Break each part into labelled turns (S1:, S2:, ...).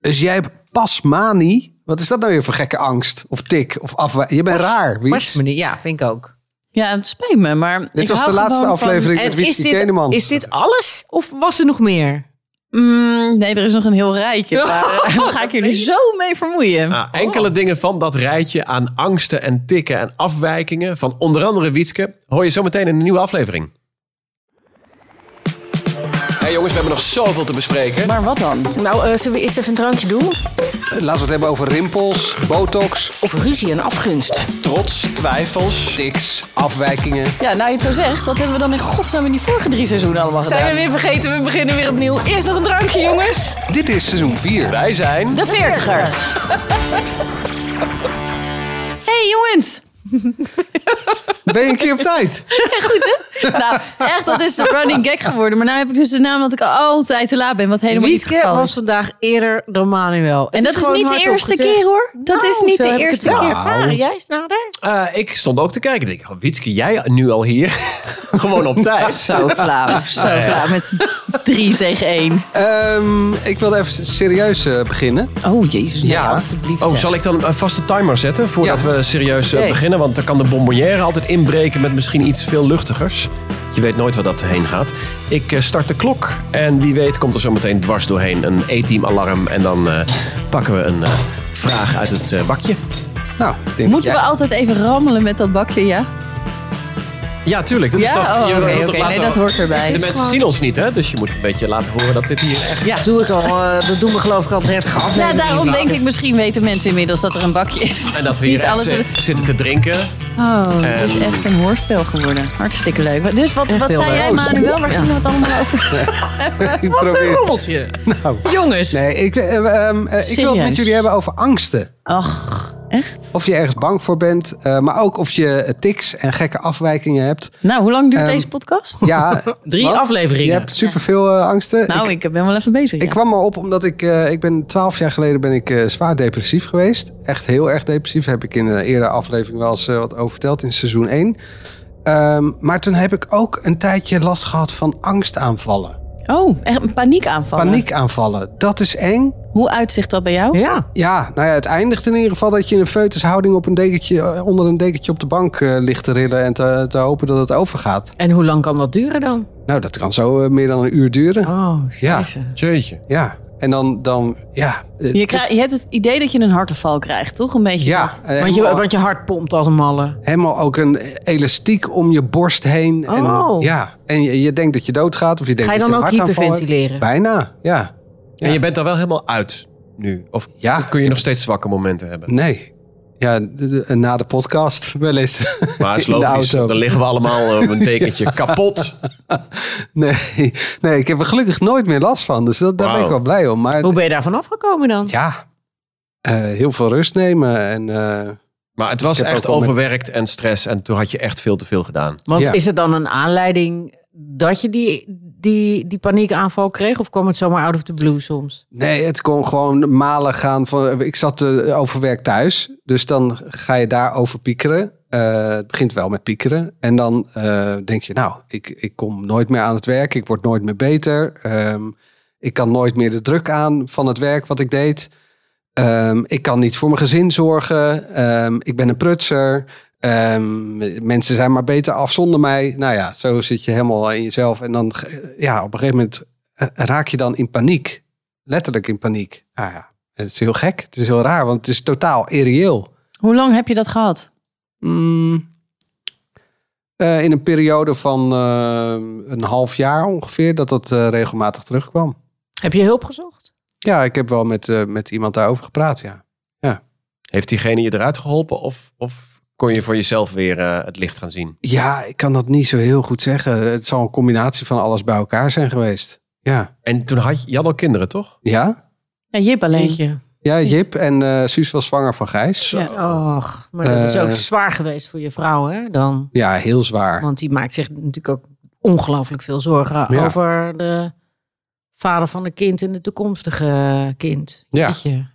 S1: Dus jij hebt pasmanie. Wat is dat nou weer voor gekke angst? Of tik? Of afwijzing? Je bent raar, Wies.
S2: Wasmanier, ja, vind ik ook.
S3: Ja, het spijt me, maar
S1: Dit
S3: ik
S1: was
S3: hou
S1: de laatste
S3: gewoon van-
S1: aflevering met
S2: is
S1: Wies die
S2: dit,
S1: Keneman.
S2: is dit alles of was er nog meer?
S3: Mm, nee, er is nog een heel rijtje. Daar daar ga ik jullie zo mee vermoeien.
S4: Nou, enkele
S3: Oh.
S4: dingen van dat rijtje aan angsten en tikken en afwijkingen van onder andere Wietske hoor je zometeen in een nieuwe aflevering. hey jongens, we hebben nog zoveel te bespreken.
S3: Maar wat dan?
S5: Nou, eh, zullen we eerst even een drankje doen?
S1: Laten we het hebben over rimpels, botox,
S5: Of ruzie en afgunst.
S4: Trots, twijfels.
S1: tics, afwijkingen.
S3: Ja, nou je het zo zegt, wat hebben we dan in godsnaam in die vorige drie seizoenen allemaal gedaan?
S5: Zijn we weer vergeten, we beginnen weer opnieuw. Eerst nog een drankje, jongens.
S1: Dit is seizoen 4.
S4: Wij zijn.
S3: De veertigers. hey jongens.
S1: Ben je een keer op tijd?
S3: Nou, echt, dat is de running gag geworden. Maar nu heb ik dus de naam dat ik altijd te laat ben, wat helemaal niet het
S2: Wieske
S3: geval
S2: was
S3: is.
S2: vandaag eerder dan Manuel. Het
S3: En dat is,
S2: gewoon
S3: niet de
S2: hardop
S3: eerste
S2: gezegd.
S3: keer hoor. Dat is
S2: Nou,
S3: niet
S2: zo
S3: de
S2: heb ik
S3: eerste
S2: het Nou, wel
S3: keer.
S2: ervaren. Jij is nader.
S4: Eh, ik stond ook te kijken. Ik denk, oh, Wietske, jij nu al hier? Gewoon op tijd.
S3: Zo flauw, zo flauw. Met z'n drie tegen één.
S1: Ehm, ik wilde even serieus eh, beginnen.
S3: Oh jezus, nee,
S1: Ja.
S3: alstublieft.
S4: Oh,
S3: zeg.
S4: zal ik dan een vaste timer zetten voordat
S1: Ja.
S4: we serieus eh,
S1: Nee.
S4: beginnen? Want dan kan de bonbonnière altijd inbreken met misschien iets veel luchtigers. Je weet nooit waar dat heen gaat. Ik eh, start de klok en wie weet komt er zometeen dwars doorheen een E-team alarm. En dan eh, pakken we een eh, vraag uit het eh, bakje.
S1: Nou, ik denk
S3: Moeten
S1: dat
S3: we
S1: jij-
S3: altijd even rammelen met dat bakje, ja?
S4: Ja, tuurlijk. Dat
S3: Ja?
S4: is toch,
S3: Oh,
S4: je-
S3: oké,
S4: dat
S3: oké.
S4: laten
S3: Nee,
S4: we-
S3: dat hoort erbij.
S4: De
S3: Het is
S4: mensen
S3: gewoon-
S4: zien ons niet, hè? Dus je moet een beetje laten horen dat dit hier echt...
S2: Dat doe ik al. eh, dat doen we geloof ik al 30 afleveringen.
S3: Ja, daarom denk ik, misschien weten mensen inmiddels dat er een bakje is.
S4: En dat we hier
S3: Niet
S4: echt
S3: alles-
S4: zi- zitten Ehm. te drinken.
S3: Oh, het is
S4: En-
S3: echt een hoorspel geworden. Hartstikke leuk. Dus wat,
S2: Echt
S3: wat
S2: heel
S3: zei
S2: leuk.
S4: Oh,
S3: jij, Manuel? Waar ging het allemaal over?
S1: Ik
S3: eh,
S1: probeer-
S2: rommeltje.
S3: Jongens.
S1: Nee, ik, eh, ehm, eh, ik wil het met
S3: Serieus.
S1: jullie hebben over angsten.
S3: Ach, echt?
S1: Of je ergens bang voor bent, eh, maar ook of je eh, tics en gekke afwijkingen hebt.
S3: Nou, hoe lang duurt
S1: Ehm,
S3: deze podcast?
S1: Ja,
S2: Drie
S1: want Je
S2: afleveringen.
S1: hebt superveel eh, angsten.
S3: Nou, ik, ben wel even bezig.
S1: Ik
S3: ja.
S1: kwam maar op omdat ik, eh, ik ben twaalf jaar geleden ben ik eh, zwaar depressief geweest. Echt heel erg depressief. Heb ik in een eerdere aflevering wel eens eh, wat over verteld in seizoen 1. maar toen heb ik ook een tijdje last gehad van angstaanvallen.
S3: Oh, echt een paniekaanvallen.
S1: Paniekaanvallen. Dat is eng.
S3: Hoe uitzicht dat bij jou?
S2: Ja.
S1: Ja, nou ja, het eindigt in ieder geval dat je in een feutushouding op een dekentje, eh, onder een dekentje op de bank eh, ligt te rillen en te, te hopen dat het overgaat.
S2: En hoe lang kan dat duren dan?
S1: Nou, dat kan zo eh, meer dan een uur duren.
S2: Oh,
S1: Ja. Eh,
S2: jezus.
S4: Jeetje.
S1: Ja, en dan, dan ja. eh,
S3: Je, krijg- je hebt het idee dat je een hartaanval krijgt, toch? Een beetje.
S1: ja,
S3: dat.
S1: eh,
S2: Want, je,
S1: helemaal-
S2: want je hart pompt als een malle.
S1: helemaal ook een elastiek om je borst heen. En,
S2: Oh.
S1: ja. en je, je denkt dat je doodgaat of je denkt
S2: Ga je
S1: dat
S2: dan ook
S1: je een hartaanval hebt.
S2: hyperventileren?
S1: Bijna, ja. Ja.
S4: En je bent daar wel helemaal uit nu. Of
S1: Ja.
S4: kun je nog steeds zwakke momenten hebben?
S1: Nee. Ja, de- de- na de podcast wel eens.
S4: Maar is
S1: In de
S4: logisch,
S1: auto.
S4: dan liggen we allemaal eh, op een dekentje kapot.
S1: Nee, nee, ik heb er gelukkig nooit meer last van. Dus dat, daar ben ik
S4: Wauw.
S1: wel blij om. Maar
S2: Hoe ben je daarvan afgekomen dan?
S1: ja, eh, heel veel rust nemen. En, eh,
S4: Maar het was
S1: Ik heb
S4: echt
S1: ook al met-
S4: overwerkt en stress en toen had je echt veel te veel gedaan.
S2: Want
S1: Ja.
S2: is het dan een aanleiding dat je die, die, die paniekaanval kreeg? Of kwam het zomaar out of the blue soms?
S1: nee, het kon gewoon malen gaan. Van, ik zat eh, overwerkt thuis. Dus dan ga je daarover piekeren. Eh, het begint wel met piekeren. En dan eh, denk je, nou, ik, ik kom nooit meer aan het werk. Ik word nooit meer beter. Ehm, ik kan nooit meer de druk aan van het werk wat ik deed. Ehm, ik kan niet voor mijn gezin zorgen. Ehm, ik ben een prutser. Ehm, mensen zijn maar beter af zonder mij. Nou ja, zo zit je helemaal in jezelf. En dan, ge- ja, op een gegeven moment eh, raak je dan in paniek. Letterlijk in paniek. Nou ja, het is heel gek. Het is heel raar, want het is totaal irreëel.
S3: Hoe lang heb je dat gehad?
S1: Mm. Eh, in een periode van eh, een half jaar ongeveer, dat dat eh, regelmatig terugkwam.
S2: Heb je hulp gezocht?
S1: Ja, ik heb wel met, eh, met iemand daarover gepraat, ja.
S4: Heeft diegene je eruit geholpen of, of kon je voor jezelf weer eh, het licht gaan zien?
S1: Ja, ik kan dat niet zo heel goed zeggen. Het zal een combinatie van alles bij elkaar zijn geweest. Ja.
S4: En toen had je, je had al kinderen, toch?
S1: Ja?
S3: Ja, Jip alleen.
S2: je.
S1: Ja, Jip en eh, Suus was zwanger van Gijs.
S3: Ja.
S2: Och, maar dat is
S1: Eh.
S2: ook zwaar geweest voor je vrouw, hè? Dan.
S1: Ja, heel zwaar.
S2: Want die maakt zich natuurlijk ook ongelooflijk veel zorgen
S1: Ja.
S2: over de vader van een kind en de toekomstige kind.
S1: Ja.
S2: Jeetje.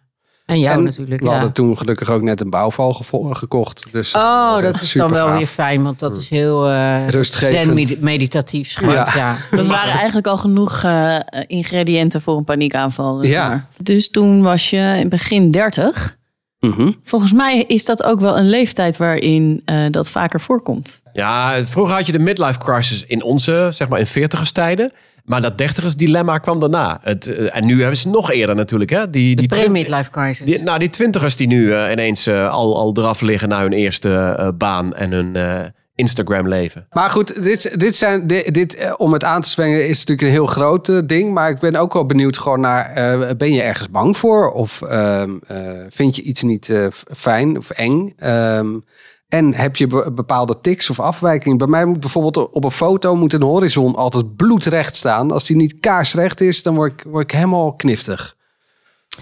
S2: En jou
S1: en
S2: natuurlijk.
S1: we
S2: Ja.
S1: hadden toen gelukkig ook net een bouwval gevo- gekocht. Dus eh,
S2: Oh, dat,
S1: echt
S2: is dan wel
S1: supergaaf. Mm.
S2: weer fijn, want dat is heel eh
S1: Rustgevend.
S2: zen- med- meditatief schijnt. Ja.
S3: Dat waren eigenlijk al genoeg eh, ingrediënten voor een paniekaanval. zeg
S1: Ja.
S3: maar. Dus toen was je in begin 30.
S1: Mhm.
S3: Volgens mij is dat ook wel een leeftijd waarin eh, dat vaker voorkomt.
S4: Ja, vroeger had je de midlife crisis in onze, zeg maar in veertigers tijden. Maar dat dertigers dilemma kwam daarna. Het, eh, en nu hebben ze het nog eerder natuurlijk. Hè? Die,
S2: De
S4: die
S2: pre-midlife crisis.
S4: Die, nou, die twintigers die nu eh, ineens eh, al, al eraf liggen na hun eerste eh, baan en hun eh, Instagram-leven.
S1: Maar goed, dit, dit zijn, dit, dit, eh, om het aan te zwengen is natuurlijk een heel groot eh, ding. Maar ik ben ook wel benieuwd gewoon naar, eh, ben je ergens bang voor? Of ehm, eh, vind je iets niet eh, f- fijn of eng? Ehm, en heb je be- bepaalde tics of afwijkingen? Bij mij moet bijvoorbeeld op een foto moet een horizon altijd bloedrecht staan. Als die niet kaarsrecht is, dan word ik, word ik helemaal kniftig.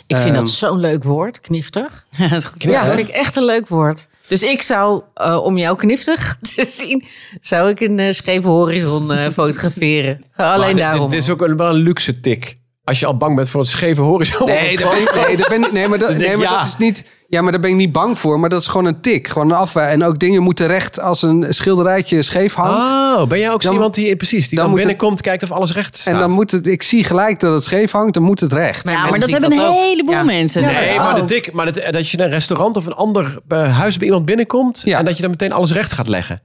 S2: ik vind
S1: ehm,
S2: dat zo'n leuk woord, kniftig.
S3: Ja, dat is goed.
S2: Ja, vind ik echt een leuk woord. Dus ik zou, eh, om jou kniftig te zien, zou ik een eh, scheve horizon eh, fotograferen.
S4: Maar
S2: Alleen
S4: dit-
S2: daarom.
S4: Dit is ook een, wel een luxe tik. Als je al bang bent voor het scheve horizon.
S1: Nee, daar ben ik, nee, daar ben ik- nee, maar, dat,
S4: Dan denk
S1: nee,
S4: Oh, ik,
S1: maar
S4: ja.
S1: dat is niet. Ja, maar daar ben ik niet bang voor. Maar dat is gewoon een tik. Gewoon een afwij. En ook dingen moeten recht als een schilderijtje scheef hangt.
S4: Oh, ben jij ook zo
S1: Dan-
S4: iemand die precies
S1: dan
S4: die dan,
S1: moet het-
S4: binnenkomt, kijkt of alles recht staat?
S1: en dan moet het. Ik zie gelijk dat het scheef hangt. Dan moet het recht.
S2: Mijn
S3: Ja,
S2: man
S3: maar dat
S2: ziet
S3: hebben een
S2: ook.
S3: heleboel
S2: Ja.
S3: mensen. Oh.
S4: Nee,
S3: Ja.
S1: oh.
S4: maar, de tik, maar dat, dat je in een restaurant of een ander eh, huis bij iemand binnenkomt...
S1: Ja.
S4: en dat je dan meteen alles recht gaat leggen.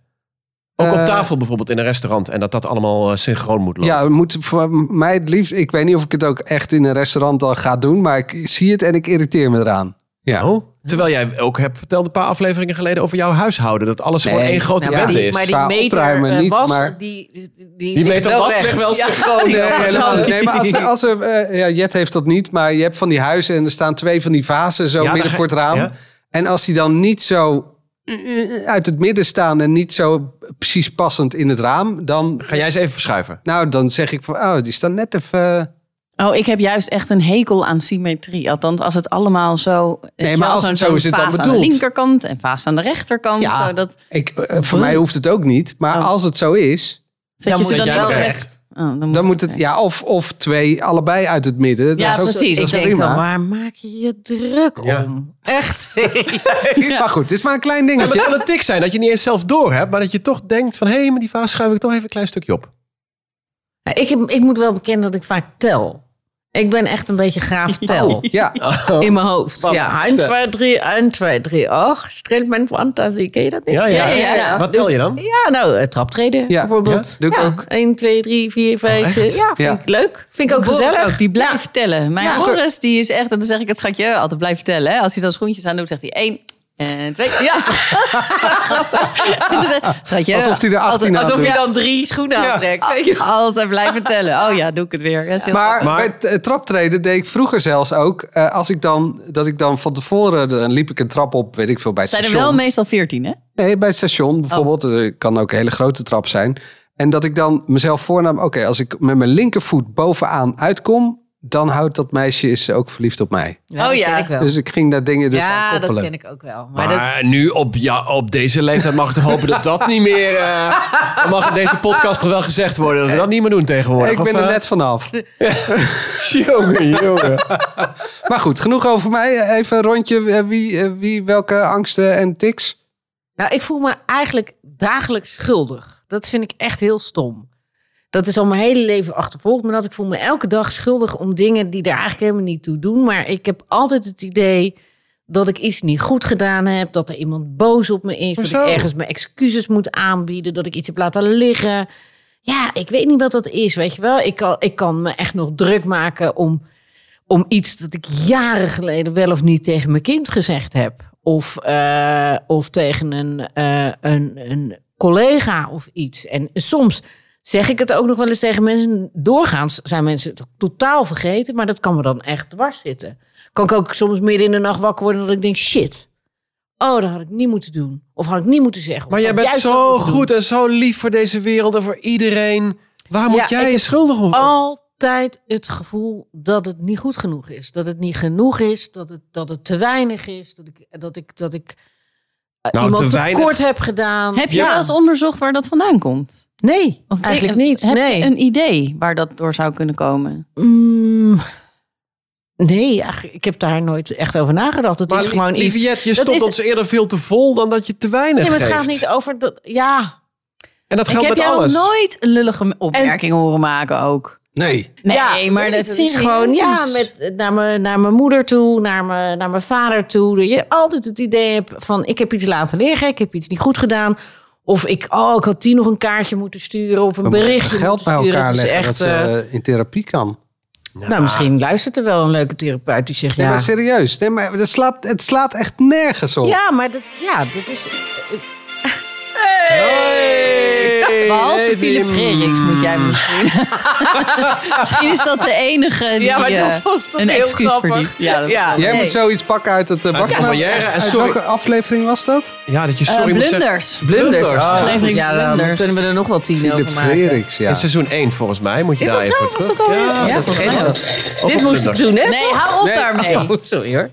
S4: Ook
S1: Eh,
S4: op tafel bijvoorbeeld in een restaurant. En dat dat allemaal eh, synchroon moet lopen.
S1: Ja, het moet voor mij het liefst. Ik weet niet of ik het ook echt in een restaurant dan ga doen. Maar ik zie het en ik irriteer me eraan. Ja.
S4: Oh, terwijl jij ook hebt verteld een paar afleveringen geleden over jouw huishouden. Dat alles gewoon
S1: Nee,
S4: één grote
S2: Nou,
S1: Ja,
S2: maar,
S4: bende
S2: die,
S4: is.
S2: maar die
S1: Qua
S2: meter
S1: opruimen
S2: eh,
S1: niet,
S2: was,
S1: maar-
S2: die, die, die,
S4: Die
S2: ligt
S4: meter
S2: wel
S4: was
S2: recht.
S4: ligt wel
S2: Ja.
S4: synchroon.
S2: Die
S1: Nee,
S2: was
S1: eh, helemaal
S2: wel-
S1: niet. nee, maar als, als er, eh, ja, Jet heeft dat niet, maar je hebt van die huizen en er staan twee van die vazen zo
S4: Ja, dan
S1: midden
S4: ga-
S1: voor het raam.
S4: ja.
S1: En als die dan niet zo eh, uit het midden staan en niet zo precies passend in het raam, dan,
S4: Ga jij eens even verschuiven?
S1: nou, dan zeg ik van, oh, die staan net even...
S3: Oh, ik heb juist echt een hekel aan symmetrie. Althans, als het allemaal zo...
S1: Nee, maar als
S3: zo'n-
S1: het zo
S3: zo'n
S1: is het dan
S3: vaas aan de
S1: bedoeld.
S3: linkerkant en vaas aan de rechterkant.
S1: Ja.
S3: Zo, dat,
S1: Ik, eh, voor mij hoeft het ook niet, maar
S3: Oh.
S1: als het zo is,
S3: zet je
S2: moet
S3: ze
S4: het
S3: dan
S4: juist
S3: wel
S4: recht.
S3: recht. Oh, dan moet,
S1: dan moet het, ja, of, of twee, allebei uit het midden. Dat
S3: Ja,
S1: is ook-
S3: precies.
S1: dat
S2: Ik
S1: is
S2: denk
S1: prima.
S2: dan, waar maak je je druk
S4: Ja.
S2: om? Echt serieus.
S1: Maar goed, het is maar een klein
S4: Ja, maar
S1: dingetje.
S4: Nou, het kan een tik zijn dat je niet eens zelf door hebt, maar dat je toch denkt van hé, hey, maar die vaas schuif ik toch even een klein stukje op.
S2: Ja, Ik, heb- ik moet wel bekennen dat ik vaak tel. Ik ben echt een beetje graaf tel.
S1: Ja,
S2: In mijn hoofd. Ja, 1,
S1: eh,
S2: 2, 3, 1, 2, 3. Och, streelt mijn fantasie. Ken je dat niet?
S4: Ja, ja.
S3: ja, ja.
S4: Wat tel je dan?
S2: Ja, nou, eh, traptreden
S1: Ja.
S2: bijvoorbeeld.
S1: Ja, doe ik
S2: Ja,
S1: ook. Oh,
S2: 1, 2, 3, 4, 5,
S4: echt?
S2: 6. Ja, vind
S1: Ja.
S2: ik leuk. Vind ik ook
S3: Boris
S2: gezellig.
S3: ook, die blijft tellen. Mijn
S2: Ja.
S3: Boris, die is echt, en dan zeg ik het schatje altijd blijven tellen. Hè. Als hij dan schoentjes aan doet, zegt hij één en twee. Ja. Dan zeg ik, schatje,
S1: alsof hij er 18 aan
S2: Alsof
S1: doet.
S2: je dan drie schoenen
S1: Nou, Ja.
S2: aantrekt. weet je.
S3: altijd blijven tellen. Oh ja, doe ik het weer. Ja, is heel
S1: Maar,
S4: Maar-
S1: bij t- eh, traptreden deed ik vroeger zelfs ook. eh, als ik dan, dat ik dan van tevoren, dan liep ik een trap op, weet ik veel, bij het
S3: zijn er
S1: station.
S3: wel meestal veertien, hè?
S1: Nee, bij het station bijvoorbeeld. eh, kan ook een hele grote trap zijn. En dat ik dan mezelf voornam, oké, als ik met mijn linkervoet bovenaan uitkom, dan houdt dat meisje is ook verliefd op mij.
S3: Oh
S2: dat
S3: ja.
S2: ken ik wel.
S1: Dus ik ging daar dingen dus aan
S2: ja, dat
S1: koppelen.
S2: ken ik ook wel. Maar,
S4: Maar,
S2: dat,
S4: nu op, ja, op deze leeftijd mag ik toch hopen dat dat niet meer... eh, dan mag in deze podcast toch wel gezegd worden dat we dat niet meer doen tegenwoordig.
S1: Ik ben
S4: of,
S1: er
S4: eh,
S1: net vanaf.
S4: Jongen, jongen.
S1: Maar goed, genoeg over mij. Even een rondje. eh, Wie, eh, wie welke angsten en tics?
S2: nou, ik voel me eigenlijk dagelijks schuldig. Dat vind ik echt heel stom. Dat is al mijn hele leven achtervolgd. Maar dat ik voel me elke dag schuldig om dingen die daar eigenlijk helemaal niet toe doen. Maar ik heb altijd het idee dat ik iets niet goed gedaan heb. Dat er iemand boos op me is. Dat
S1: Hoezo?
S2: ik ergens mijn excuses moet aanbieden. Dat ik iets heb laten liggen. Ja, ik weet niet wat dat is, weet je wel. Ik kan, ik kan me echt nog druk maken om, om iets dat ik jaren geleden wel of niet tegen mijn kind gezegd heb. Of, eh, of tegen een, eh, een, een collega of iets. En soms zeg ik het ook nog wel eens tegen mensen. Doorgaans zijn mensen het totaal vergeten, maar dat kan me dan echt dwars zitten. Kan ik ook soms midden in de nacht wakker worden dat ik denk, shit. Oh, dat had ik niet moeten doen. Of had ik niet moeten zeggen. Of
S4: Maar jij
S2: had
S4: bent
S2: juist
S4: zo
S2: dat moeten doen.
S4: goed en zo lief voor deze wereld en voor iedereen. Waar moet
S2: Ja, ik
S4: jij je
S2: heb Oh,
S4: schuldig om?
S2: altijd het gevoel dat het niet goed genoeg is. Dat het niet genoeg is, dat het, dat het te weinig is, dat ik, dat ik, dat ik eh,
S4: Nou,
S2: iemand
S4: te weinig.
S2: tekort heb gedaan.
S3: Heb je
S2: Ja.
S3: wel eens onderzocht waar dat vandaan komt?
S2: Nee,
S3: Of
S2: eigenlijk
S3: eh,
S2: niet.
S3: Heb
S2: nee.
S3: je een idee waar dat door zou kunnen komen?
S2: Mm, Nee, ach, ik heb daar nooit echt over nagedacht. Het
S4: Maar
S2: is gewoon iets.
S4: Liviet, je
S2: dat
S4: stond
S2: is-
S4: ons eerder veel te vol dan dat je te weinig
S2: Nee, maar het
S4: geeft.
S2: gaat niet over dat. Ja.
S4: En
S3: ik
S4: dat geldt
S3: heb
S4: met
S3: jou
S4: alles.
S3: nog nooit een lullige opmerking horen maken ook.
S1: Nee.
S3: Nee,
S2: Ja,
S3: maar
S2: het
S3: dat
S2: is gewoon ja,
S3: serieus.
S2: met, eh, naar, mijn, naar mijn moeder toe, naar mijn, naar mijn vader toe. Dat je altijd het idee hebt van ik heb iets laten liggen, ik heb iets niet goed gedaan. Of ik, oh, ik had die nog een kaartje moeten sturen of een
S1: We moeten
S2: berichtje
S1: geld bij
S2: moeten sturen.
S1: elkaar
S2: Het is
S1: leggen dat
S2: echt,
S1: ze
S2: eh,
S1: eh, in therapie kan.
S2: Nou, misschien luistert er wel een leuke therapeut die zegt
S1: Nee,
S2: ja.
S1: maar serieus. Nee, maar het slaat, het slaat echt nergens op.
S2: Ja, maar dat, ja, dat is.
S4: Hey,
S3: Behalve
S4: hey,
S3: Philip
S4: Tim.
S3: Frerichs moet jij misschien. misschien is dat de enige die eh,
S2: was toch
S3: een excuus verdient. Ja, dat
S2: Ja.
S3: is
S1: Jij
S2: Nee.
S1: moet zoiets pakken uit het eh,
S4: Uit de
S1: bakkenblad.
S4: Barrière. En
S1: Uit
S4: sorry-
S1: welke aflevering was dat?
S4: Ja, dat je
S3: wel-
S4: sorry
S3: Eh,
S4: moet zeggen.
S3: blunders.
S2: Blunders.
S4: Blunders.
S2: Oh,
S3: Aflevering
S2: goed, ja, dan
S3: Blunders.
S2: kunnen we er nog wel tien
S1: Philip
S2: over maken.
S1: Frerichs, ja.
S4: In seizoen 1 volgens mij moet je
S2: Is
S4: daar
S2: dat
S4: even
S2: zo?
S4: op
S2: Was
S4: terug.
S2: dat alweer?
S4: Ja,
S2: Ja,
S4: dat
S2: volgens
S4: vergeet
S2: mij
S4: dat. Of op
S2: Dit moest ik
S4: blunders.
S2: doen, hè?
S3: Nee, hou op
S1: Nee.
S3: daarmee.
S2: Oh, sorry hoor.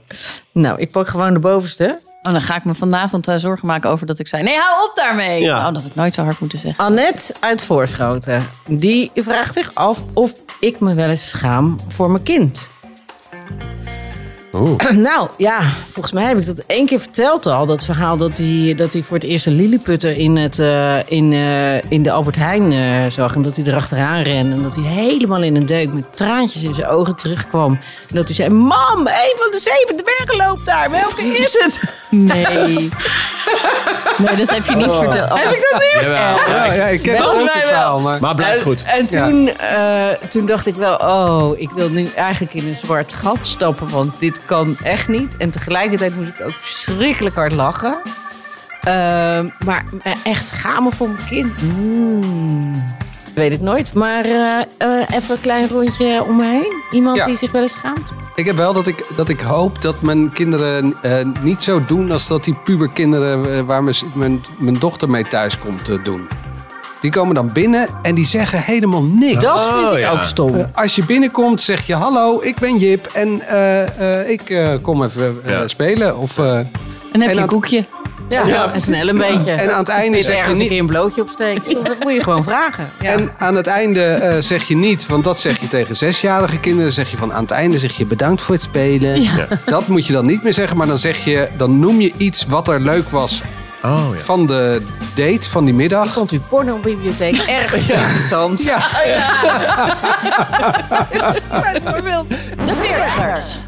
S2: Nou, ik pak gewoon de bovenste.
S3: Oh, dan ga ik me vanavond eh, zorgen maken over dat ik zei... Nee, hou op daarmee!
S4: Ja.
S3: Oh, dat had ik nooit zo hard moeten zeggen.
S2: Annette uit Voorschoten. Die vraagt zich af of ik me wel eens schaam voor mijn kind.
S4: Oeh.
S2: Nou ja, volgens mij heb ik dat één keer verteld al. Dat verhaal dat hij, dat hij voor het eerst een lilliputter in, het, eh, in, eh, in de Albert Heijn eh, zag. En dat hij erachteraan rende. En dat hij helemaal in een deuk met traantjes in zijn ogen terugkwam. En dat hij zei, mam, een van de zeven dwergen loopt daar. Welke is het?
S3: Nee. nee, dat heb je niet verteld. Oh,
S2: Heb ik dat niet?
S4: Jawel.
S1: Ja, ja, ik ken het
S2: Wel,
S1: ook
S2: wij
S1: het
S2: wel.
S1: verhaal. Maar...
S4: Maar blijft goed.
S2: Eh, En toen, eh, toen dacht ik wel, oh, ik wil nu eigenlijk in een zwart gat stappen, want dit kan echt niet. En tegelijkertijd moest ik ook verschrikkelijk hard lachen. Ehm, maar eh, echt schamen voor mijn kind. Hmm. Ik Weet het nooit, maar eh, eh, even een klein rondje om me heen. Iemand
S1: Ja.
S2: die zich wel eens schaamt?
S1: Ik heb wel dat ik, dat ik hoop dat mijn kinderen eh, niet zo doen als dat die puberkinderen eh, waar mijn, mijn, mijn dochter mee thuis komt eh, doen. Die komen dan binnen en die zeggen helemaal niks.
S2: Dat
S4: Oh,
S2: vind ik
S4: ja.
S2: ook stom.
S1: Eh, Als je binnenkomt zeg je hallo, ik ben Jip en eh, eh, ik eh, kom even eh,
S4: Ja.
S1: spelen. Of, eh,
S3: En heb
S1: En
S3: je een
S1: dat-
S3: koekje.
S2: Ja, en snel een beetje.
S1: en aan het einde
S2: Als je
S1: zeg je
S2: ergens een
S1: niet.
S2: keer een blootje opsteken, dat moet je gewoon vragen. Ja.
S1: En aan het einde eh, zeg je niet, want dat zeg je tegen zesjarige kinderen. Zeg je van aan het einde zeg je bedankt voor het spelen.
S4: Ja.
S1: Dat moet je dan niet meer zeggen, maar dan zeg je, dan noem je iets wat er leuk was
S4: Oh ja.
S1: van de date van die middag.
S2: Vond u pornobibliotheek erg interessant?
S1: Ja,
S3: De veertigers.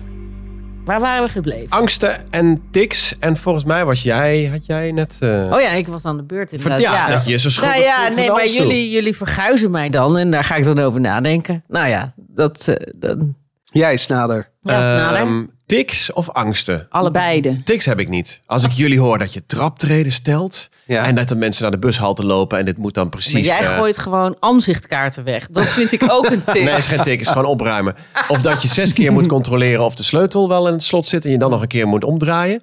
S2: Waar waren we gebleven?
S4: Angsten en tics. En volgens mij was jij, had jij net... eh,
S2: Oh ja, ik was aan de beurt
S4: ver-
S2: inderdaad.
S4: ja,
S2: Ja,
S4: dat je zo schuldig
S2: Nou ja,
S4: voelt in
S2: nee,
S4: de
S2: maar
S4: rolstoel.
S2: jullie, jullie verguizen mij dan en daar ga ik dan over nadenken. Nou ja, dat... eh, dan,
S1: jij snader.
S2: ja, sneller.
S4: Ehm, tics of angsten?
S2: Allebei.
S3: Beide.
S4: Tics heb ik niet. Als ik jullie hoor dat je traptreden stelt...
S1: Ja.
S4: en dat de mensen naar de bushalte lopen... en dit moet dan precies...
S2: Maar jij
S4: eh,
S2: gooit gewoon aanzichtkaarten weg. Dat vind ik ook een tip.
S4: Nee, is geen tik, is gewoon opruimen. Of dat je zes keer moet controleren of de sleutel wel in het slot zit... en je dan nog een keer moet omdraaien.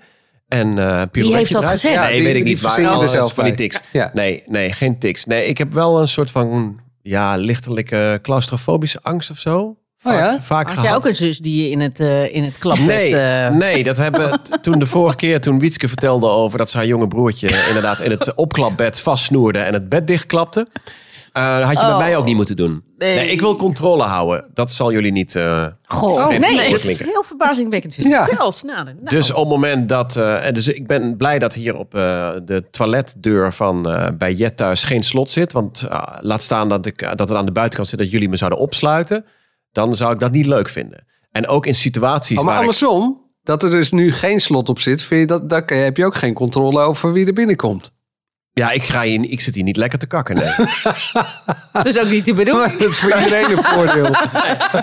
S4: En eh pirouetje
S3: heeft dat
S4: eruit.
S3: gezegd?
S4: Nee,
S1: Ja, die-
S4: weet ik
S1: die
S4: niet. Maar
S1: verzin je er
S4: alles
S1: zelf
S4: van die
S1: bij.
S4: tics.
S1: Ja.
S4: Nee, nee, geen tics. Nee, ik heb wel een soort van... ja, lichtelijke claustrofobische angst of zo. Vaak,
S1: Oh ja?
S4: vaak
S2: Had
S4: gehad.
S2: jij ook een zus die je in het, eh in het klapbed...
S4: Nee,
S2: eh,
S4: nee, dat hebben we t- toen de vorige keer toen Wietske vertelde over dat ze haar jonge broertje inderdaad in het opklapbed vastsnoerde en het bed dichtklapte. Eh had je
S3: Oh.
S4: bij mij ook niet moeten doen. Nee. ik wil controle houden. Dat zal jullie niet. eh,
S3: Goh.
S4: Oh,
S2: Nee,
S4: nee.
S2: dat is
S4: klinken.
S2: heel verbazingwekkend.
S1: Ja.
S2: Vertel, snader. Nou,
S4: Dus op het moment dat. eh, en dus ik ben blij dat hier op eh, de toiletdeur van eh, bij Jet thuis geen slot zit. Want eh, laat staan dat, ik, eh, dat het aan de buitenkant zit dat jullie me zouden opsluiten. Dan zou ik dat niet leuk vinden. En ook in situaties
S1: Oh, maar
S4: waar ik-
S1: andersom, dat er dus nu geen slot op zit, vind je dat, daar kan- heb je ook geen controle over wie er binnenkomt.
S4: Ja, ik, ga hier, ik zit hier niet lekker te kakken. Nee.
S2: dat is ook niet te bedoelen.
S1: Dat is voor iedereen een voordeel.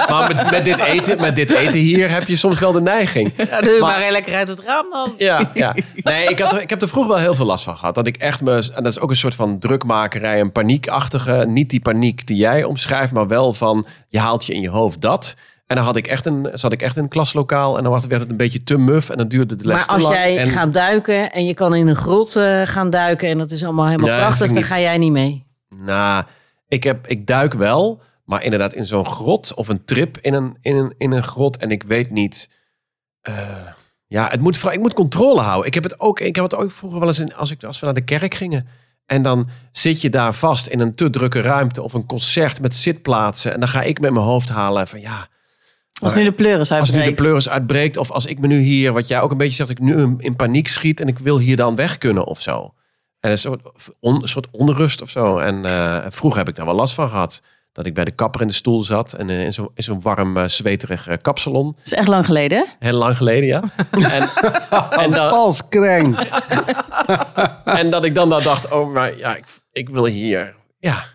S4: Maar met, met, dit eten, met dit eten hier heb je soms wel de neiging.
S2: Ja, doe je
S4: Maar-
S2: maar, heel lekker uit het raam dan.
S4: Ja, ja. Nee, ik, had er, ik heb er vroeger wel heel veel last van gehad. Dat ik echt me. En dat is ook een soort van drukmakerij, een paniekachtige. Niet die paniek die jij omschrijft, maar wel van je haalt je in je hoofd dat. En dan had ik echt een, zat ik echt in een klaslokaal en dan was- werd het een beetje te muf en dan duurde de les
S2: Maar
S4: te
S2: als
S4: lang.
S2: jij
S4: en,
S2: gaat duiken en je kan in een grot eh, gaan duiken en dat is allemaal helemaal
S4: Nee, dat
S2: prachtig,
S4: vind ik
S2: dan
S4: niet.
S2: ga jij niet mee.
S4: Nou, ik, heb, ik duik wel, maar inderdaad in zo'n grot of een trip in een, in een, in een grot. En ik weet niet. eh, ja, het moet, vra- ik moet controle houden. Ik heb het ook, ik heb het ook vroeger wel eens in, als, ik, als we naar de kerk gingen. En dan zit je daar vast in een te drukke ruimte of een concert met zitplaatsen. En dan ga ik met mijn hoofd halen van ja,
S3: Als nu de pleuris
S4: Als nu de
S3: uitbreekt.
S4: pleuris uitbreekt, of als ik me nu hier, wat jij ook een beetje zegt, ik nu in paniek schiet en ik wil hier dan weg kunnen of zo. En een soort, on- een soort onrust of zo. En eh, vroeger heb ik daar wel last van gehad. Dat ik bij de kapper in de stoel zat en eh, in zo'n in zo'n warm, eh, zweterig eh, kapsalon.
S3: Dat is echt lang geleden, hè?
S4: Heel lang geleden, ja. en, en, dat,
S1: Vals kreng.
S4: en dat ik dan dat dacht, oh, maar ja, ik, ik wil hier. Ja,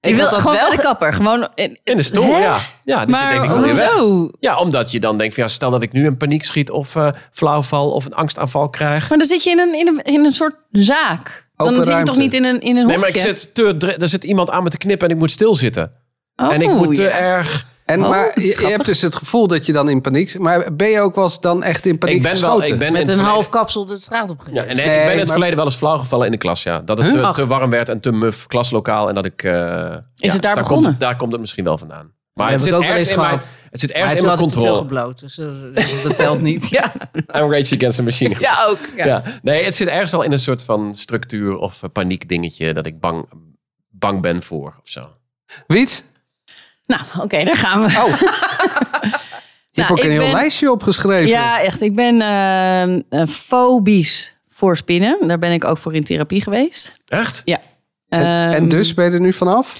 S3: Je
S2: had
S3: wil
S2: dat
S3: gewoon
S2: wel
S3: bij de
S2: ge-
S3: kapper. Gewoon in-
S4: in de stoel,
S3: Hè?
S4: ja. Ja,
S1: Ah,
S4: dus ik denk, ik
S3: Maar
S4: wil hier weg.
S3: hoezo?
S4: Ja, omdat je dan denkt van ja, stel dat ik nu in paniek schiet of eh flauw val of een angstaanval krijg.
S3: Maar dan zit je in een, in een, in een soort zaak.
S1: Open
S3: dan zit je
S1: ruimte.
S3: toch niet in een, in een
S4: Nee, maar ik
S3: hokje?
S4: zit te, dre- er zit iemand aan me te knippen en ik moet stilzitten.
S3: Oh,
S4: en ik moet eh, te
S3: ja.
S4: erg.
S1: En,
S3: Oh,
S1: maar je- je, hebt dus het gevoel dat je dan in paniek zit. Maar ben je ook wel eens dan echt in paniek
S4: Ik ben wel.
S1: geschoten?
S4: Ik ben in
S2: met
S4: het
S2: een
S4: verleden-
S2: half kapsel de straat op
S4: Ja, en nee, ik
S1: Nee,
S4: ben in het
S1: maar-
S4: verleden wel eens flauw gevallen in de klas. Ja. Dat het
S1: Huh?
S4: te, te warm werd en te muf klaslokaal. En dat ik. eh, ja,
S3: het daar
S4: Komt,
S3: begonnen?
S4: het- daar komt het misschien wel vandaan. Maar
S2: heb
S4: het
S2: ik
S4: zit,
S2: ook wel
S4: ergens
S2: eens
S4: in mijn,
S2: gehad.
S4: het zit
S2: Maar
S4: ergens in
S2: toen
S4: mijn
S2: had ik te veel
S4: controle.
S2: gebloot, dus eh, dat telt niet. Ja,
S4: I'm Rage Against the Machine.
S2: ja ook. Ja.
S4: Ja. Nee, het zit ergens wel in een soort van structuur of eh, paniekdingetje. Dat ik bang, bang ben voor of zo.
S1: Wiet?
S3: Nou, oké, daar gaan we. Nou,
S1: Oh. je hebt ook
S3: ik
S1: een heel
S3: ben-
S1: lijstje opgeschreven.
S3: Ja, echt. Ik ben ehm, eh, fobisch voor spinnen. Daar ben ik ook voor in therapie geweest.
S4: Echt?
S1: En, en
S3: Ehm,
S1: dus ben je er nu vanaf?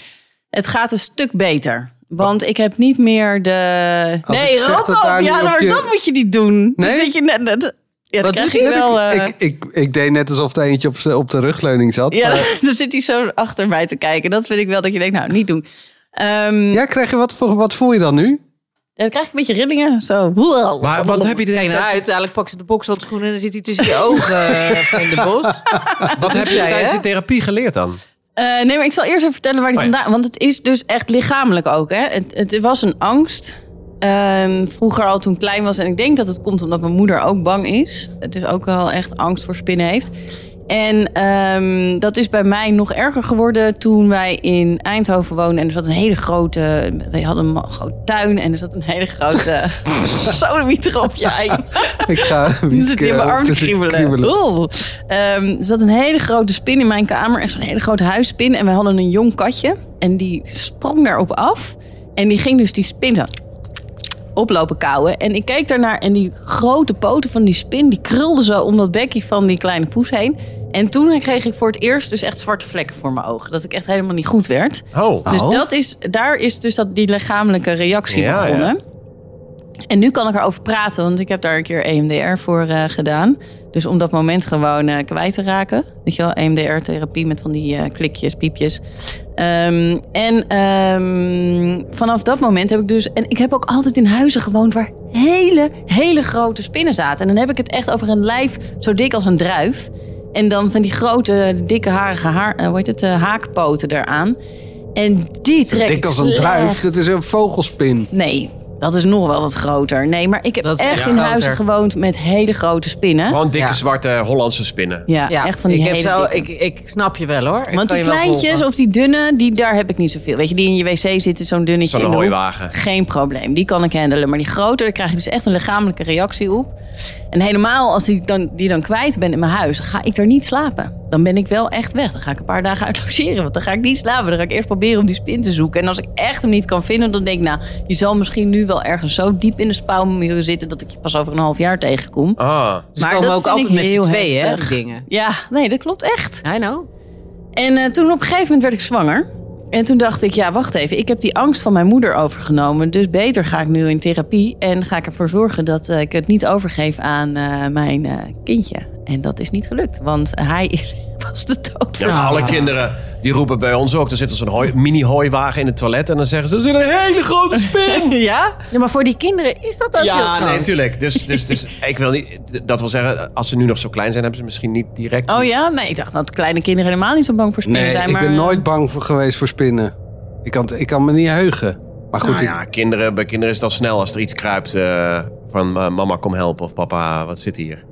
S3: Het gaat een stuk beter. Want ik heb niet meer de...
S1: Als ik
S3: nee,
S1: zeg
S3: rot
S1: dat
S3: op.
S1: daar nu
S3: Ja,
S1: op
S3: maar
S1: je-
S3: dat moet je niet doen.
S1: Nee?
S3: Dan zit je net... net- ja, dan
S2: Wat
S3: krijg
S2: doet
S3: ik
S2: hij?
S3: wel... eh,
S1: ik, ik, ik deed net alsof er eentje op, z'n- op de rugleuning zat. Oh,
S3: ja,
S1: maar-
S4: Eh,
S3: dan zit hij zo achter mij te kijken. Dat vind ik wel dat je denkt, nou, niet doen. Ehm,
S1: ja krijg je wat, voor, wat voel je dan nu?
S3: Dan krijg ik een beetje rillingen. Zo.
S4: Maar wat heb je,
S2: Kijk nou,
S4: de,
S2: uiteindelijk pakt ze de bokshandschoenen en dan zit hij tussen je ogen eh, in de bos.
S4: wat heb je
S2: zei,
S4: tijdens
S2: hè?
S4: je therapie geleerd dan?
S3: Eh, nee, maar ik zal eerst even vertellen waar die
S4: Oh ja.
S3: vandaan... Want het is dus echt lichamelijk ook, hè. Het, het was een angst. Ehm, vroeger al toen ik klein was. En ik denk dat het komt omdat mijn moeder ook bang is. Het is ook wel echt angst voor spinnen heeft. En ehm, dat is bij mij nog erger geworden toen wij in Eindhoven woonden. En er zat een hele grote... We hadden een ma- groot tuin en er zat een hele grote... Sodemieter op je ei.
S1: Ik ga eh,
S3: Nu zit hij in mijn arm te
S1: tussen-
S3: kriebelen. Oeh. Ehm, er zat een hele grote spin in mijn kamer. Echt zo'n hele grote huisspin. En we hadden een jong katje. En die sprong daarop af. En die ging dus die spin zo oplopen kouwen. En ik keek daarnaar en die grote poten van die spin... die krulden zo om dat bekje van die kleine poes heen. En toen kreeg ik voor het eerst dus echt zwarte vlekken voor mijn ogen. Dat ik echt helemaal niet goed werd.
S2: Nou,
S4: Oh.
S3: Dus
S1: Oh.
S3: dat is, daar is dus dat, die lichamelijke reactie
S4: Ja,
S3: begonnen. En nu kan ik erover praten, want ik heb daar een keer EMDR voor eh, gedaan. Dus om dat moment gewoon eh, kwijt te raken. Weet je wel, E EMDR-therapie met van die eh, klikjes, piepjes. Ehm, en ehm, vanaf dat moment heb ik dus... En ik heb ook altijd in huizen gewoond waar hele, hele grote spinnen zaten. En dan heb ik het echt over een lijf zo dik als een druif. En dan van die grote, dikke, harige haar, eh, hoe heet het, eh, haakpoten eraan. En die trek ik
S1: Dik als een
S3: slecht.
S1: druif, dat is een vogelspin.
S3: Nee, dat is nog wel wat groter. Nee, maar ik heb
S2: Dat is
S3: echt
S2: echt
S3: in
S2: groter.
S3: huizen gewoond met hele grote spinnen.
S4: Gewoon dikke
S2: Ja.
S4: zwarte Hollandse spinnen.
S3: Ja, echt van die
S2: ik, heb
S3: hele
S2: zo,
S3: dikke.
S2: ik, ik snap je wel hoor. Ik
S3: Want
S2: kan
S3: die
S2: je wel
S3: kleintjes
S2: volgen.
S3: of die dunne, die, daar heb ik niet zoveel. Weet je, die in je wc zitten, zo'n dunnetje
S4: Zo'n
S3: in de hoek.
S4: hooiwagen.
S3: Geen probleem, die kan ik handelen. Maar die grotere, daar krijg je dus echt een lichamelijke reactie op. En helemaal als ik dan, die dan kwijt ben in mijn huis, ga ik daar niet slapen. Dan ben ik wel echt weg. Dan ga ik een paar dagen uit logeren, want dan ga ik niet slapen. Dan ga ik eerst proberen om die spin te zoeken. En als ik echt hem niet kan vinden, dan denk ik... nou, je zal misschien nu wel ergens zo diep in de spouwmuren zitten... dat ik je pas over een half jaar tegenkom.
S4: Ah.
S2: Ze komen
S3: dat
S2: ook
S3: vind
S2: altijd
S3: ik
S2: met z'n
S3: heel
S2: tweeën, hè, die
S3: heftig.
S2: dingen.
S3: Ja, nee, dat klopt echt.
S2: I know.
S3: En eh, toen op een gegeven moment werd ik zwanger. En toen dacht ik, ja, wacht even. Ik heb die angst van mijn moeder overgenomen. Dus beter ga ik nu in therapie. En ga ik ervoor zorgen dat eh, ik het niet overgeef aan eh, mijn eh, kindje. En dat is niet gelukt, want hij was de dood.
S4: Ja, maar
S2: Ja.
S4: alle kinderen die roepen bij ons ook. Dan zit er zo'n hooi- mini-hooiwagen in het toilet. En dan zeggen ze, er zit een hele grote spin.
S3: Ja?
S2: Ja, maar voor die kinderen is dat ook heel
S4: ja,
S2: groot.
S4: nee, tuurlijk. Dus, dus, dus ik wil niet... Dat wil zeggen, als ze nu nog zo klein zijn... hebben ze misschien niet direct...
S3: Oh ja? Nee, ik dacht dat kleine kinderen helemaal niet zo bang voor spinnen
S1: Nee,
S3: zijn.
S1: ik
S3: maar,
S1: ben
S3: eh,
S1: nooit bang voor, geweest voor spinnen. Ik kan, het- ik kan me niet heugen. Maar goed,
S4: Nou
S1: ik-
S4: ja, kinderen, bij kinderen is het al snel als er iets kruipt eh, van eh, mama kom helpen of papa wat zit hier.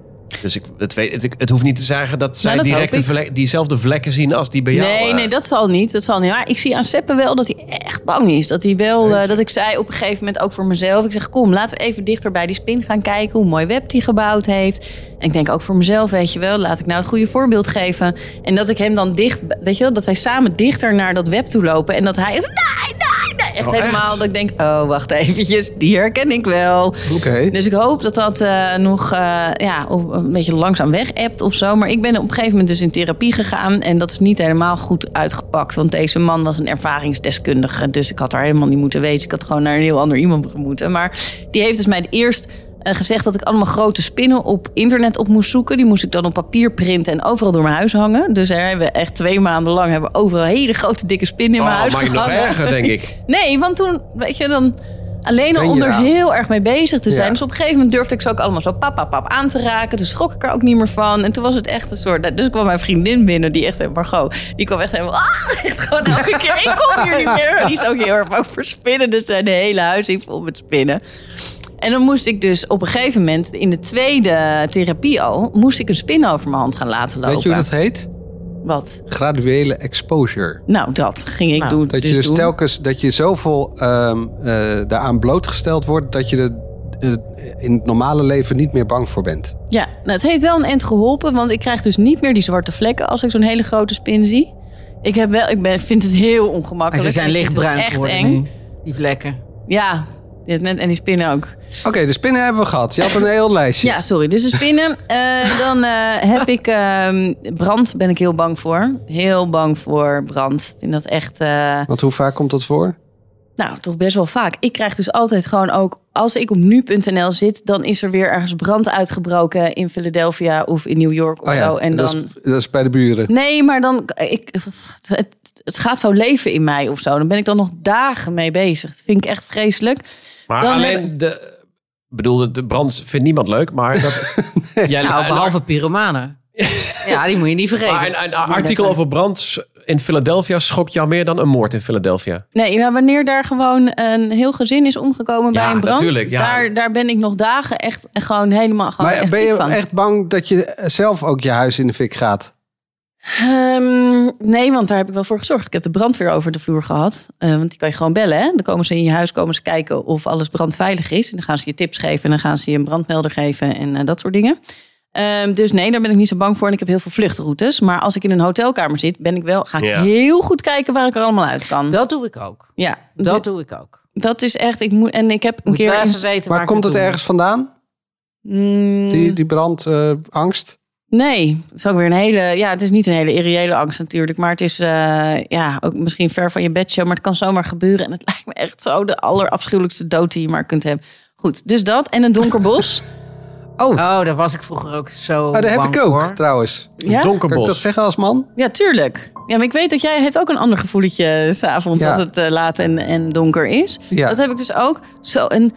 S4: Dus ik, het, weet, het, het hoeft niet te zeggen dat zij
S3: Nou, dat
S4: direct
S3: hoop
S4: de
S3: ik.
S4: vlek, diezelfde vlekken zien als die bij jou.
S3: Nee,
S4: eh.
S3: nee, dat zal niet. Dat zal niet. Maar ik zie aan Seppe wel dat hij echt bang is. Dat hij wel, eh, dat ik zei op een gegeven moment ook voor mezelf. Ik zeg, kom, laten we even dichter bij die spin gaan kijken. Hoe mooi web hij gebouwd heeft. En ik denk ook voor mezelf, weet je wel. Laat ik nou het goede voorbeeld geven. En dat ik hem dan dicht, weet je wel. Dat wij samen dichter naar dat web toe lopen. En dat hij is, nee, nee, nee. echt
S4: Oh, echt?
S3: helemaal dat ik denk, oh, wacht eventjes, die herken ik wel.
S1: Oké.
S3: Dus ik hoop dat dat eh, nog eh, ja, op- een beetje langzaam weg appt of zo. Maar ik ben op een gegeven moment dus in therapie gegaan. En dat is niet helemaal goed uitgepakt. Want deze man was een ervaringsdeskundige. Dus ik had daar helemaal niet moeten wezen. Ik had gewoon naar een heel ander iemand moeten. Maar die heeft dus mij eerst eh, gezegd dat ik allemaal grote spinnen op internet op moest zoeken. Die moest ik dan op papier printen en overal door mijn huis hangen. Dus er hebben we echt twee maanden lang hebben we overal hele grote dikke spinnen in mijn
S4: Oh,
S3: huis
S4: maak je nog
S3: gehangen.
S4: erger, denk ik.
S3: Nee, want toen, weet je, dan alleen
S1: Ben
S3: al
S1: je
S3: om er
S1: daar?
S3: heel erg mee bezig te zijn.
S1: Ja.
S3: Dus op een gegeven moment durfde ik ze ook allemaal zo pap, pap, pap aan te raken. Dus schrok ik er ook niet meer van. En toen was het echt een soort... Dus kwam mijn vriendin binnen, die echt, Margot, die kwam echt helemaal... Ah, echt gewoon elke keer, ik kom hier niet meer. Die is ook heel erg bang voor spinnen. Dus zijn hele huis hing vol met spinnen. En dan moest ik dus op een gegeven moment, in de tweede therapie al... moest ik een spin over mijn hand gaan laten lopen.
S1: Weet je hoe dat heet?
S3: Wat?
S1: Graduele exposure.
S3: Nou, dat ging ik
S2: Nou,
S3: doen.
S1: Dat
S3: dus
S1: je dus
S3: doen.
S1: telkens dat je zoveel ehm, eh, daaraan blootgesteld wordt dat je er eh, in het normale leven niet meer bang voor bent.
S3: Ja, nou, het heeft wel een end geholpen, want ik krijg dus niet meer die zwarte vlekken als ik zo'n hele grote spin zie. Ik, heb wel, ik ben, vind het heel ongemakkelijk.
S2: En ze zijn
S3: Ik vind het
S2: lichtbruin
S3: Echt
S2: geworden
S3: eng.
S2: nu, die vlekken.
S3: Ja, dit net- en die spinnen ook.
S1: Oké, de spinnen hebben we gehad. Je had een heel lijstje.
S3: Ja, sorry. Dus de spinnen. Eh, dan eh, heb ik ehm, brand, ben ik heel bang voor. Heel bang voor brand. Ik vind dat echt. eh,
S1: Want hoe vaak komt dat voor?
S3: Nou, toch best wel vaak. Ik krijg dus altijd gewoon ook, als ik op nu.nl zit, dan is er weer ergens brand uitgebroken in Philadelphia of in New York of
S2: Oh
S3: zo. En
S1: Oh dat,
S3: dan Nou,
S1: is, dat is bij de buren.
S3: Nee, maar dan. Ik, het, het gaat zo leven in mij of zo. Dan ben ik dan nog dagen mee bezig. Dat vind ik echt vreselijk.
S4: Maar
S3: Dan
S4: alleen de... Ik bedoel, de- de brand vindt niemand leuk, maar dat... Jij-
S2: Nou,
S4: een-
S2: behalve pyromanen. ja, die moet je niet
S4: maar
S2: vergeten.
S4: een, een artikel over brand in Philadelphia schokt jou meer dan een moord in Philadelphia.
S3: Nee, maar wanneer daar gewoon een heel gezin is omgekomen
S4: Ja,
S3: bij een brand.
S4: natuurlijk, ja.
S3: daar, daar ben ik nog dagen echt gewoon helemaal gewoon
S1: maar
S3: echt
S1: ben
S3: ziek
S1: je
S3: van.
S1: echt bang dat je zelf ook je huis in de fik gaat?
S3: Ehm, nee, want daar heb ik wel voor gezorgd. Ik heb de brandweer over de vloer gehad. Eh, want die kan je gewoon bellen. Hè? Dan komen ze in je huis komen ze kijken of alles brandveilig is. En dan gaan ze je tips geven. En dan gaan ze je een brandmelder geven. En eh, dat soort dingen. Ehm, dus nee, daar ben ik niet zo bang voor. En ik heb heel veel vluchtroutes. Maar als ik in een hotelkamer zit, ben ik wel, ga ik
S4: Ja.
S3: heel goed kijken waar ik er allemaal uit kan.
S2: Dat doe ik ook.
S3: ja,
S2: Dat
S3: dat,
S2: doe ik ook.
S3: dat is echt. Ik moet, en ik heb een
S2: Moet
S3: keer.
S2: wel
S3: in-
S2: even weten waar
S1: Maar
S2: ik
S1: komt het
S2: naartoe
S1: ergens vandaan?
S3: Mm,
S1: Die, eh, die brandangst?
S3: Nee, het is ook weer een hele. Ja, het is niet een hele irreële angst natuurlijk. Maar het is eh, ja, ook misschien ver van je bedshow. Maar het kan zomaar gebeuren. En het lijkt me echt zo de allerafschuwelijkste dood die je maar kunt hebben. Goed, dus dat en een donker bos.
S1: oh,
S2: moet. Oh, daar was ik vroeger ook zo
S1: ah, daar heb
S2: bang
S1: ik ook
S2: voor.
S1: trouwens.
S3: ja?
S1: Kan ik dat
S4: Donkerbos.
S1: zeggen als man?
S3: ja, tuurlijk. Ja, maar ik weet dat jij hebt ook een ander gevoeletje s'avonds
S1: Ja.
S3: als het eh, laat en, en donker is.
S1: Ja.
S3: Dat heb ik dus ook. Zo een,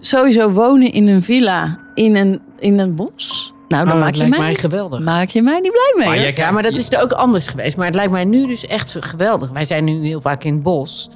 S3: sowieso wonen in een villa in een, in een bos. Nou, dan
S2: Oh,
S3: maak,
S2: dat
S3: je
S2: lijkt
S3: mij,
S2: mij geweldig.
S3: maak je mij niet blij mee.
S4: Maar
S3: hè?
S4: jij
S2: Ja,
S4: kijkt-
S2: maar dat is er ook anders geweest. Maar het lijkt mij nu dus echt geweldig. Wij zijn nu heel vaak in het bos.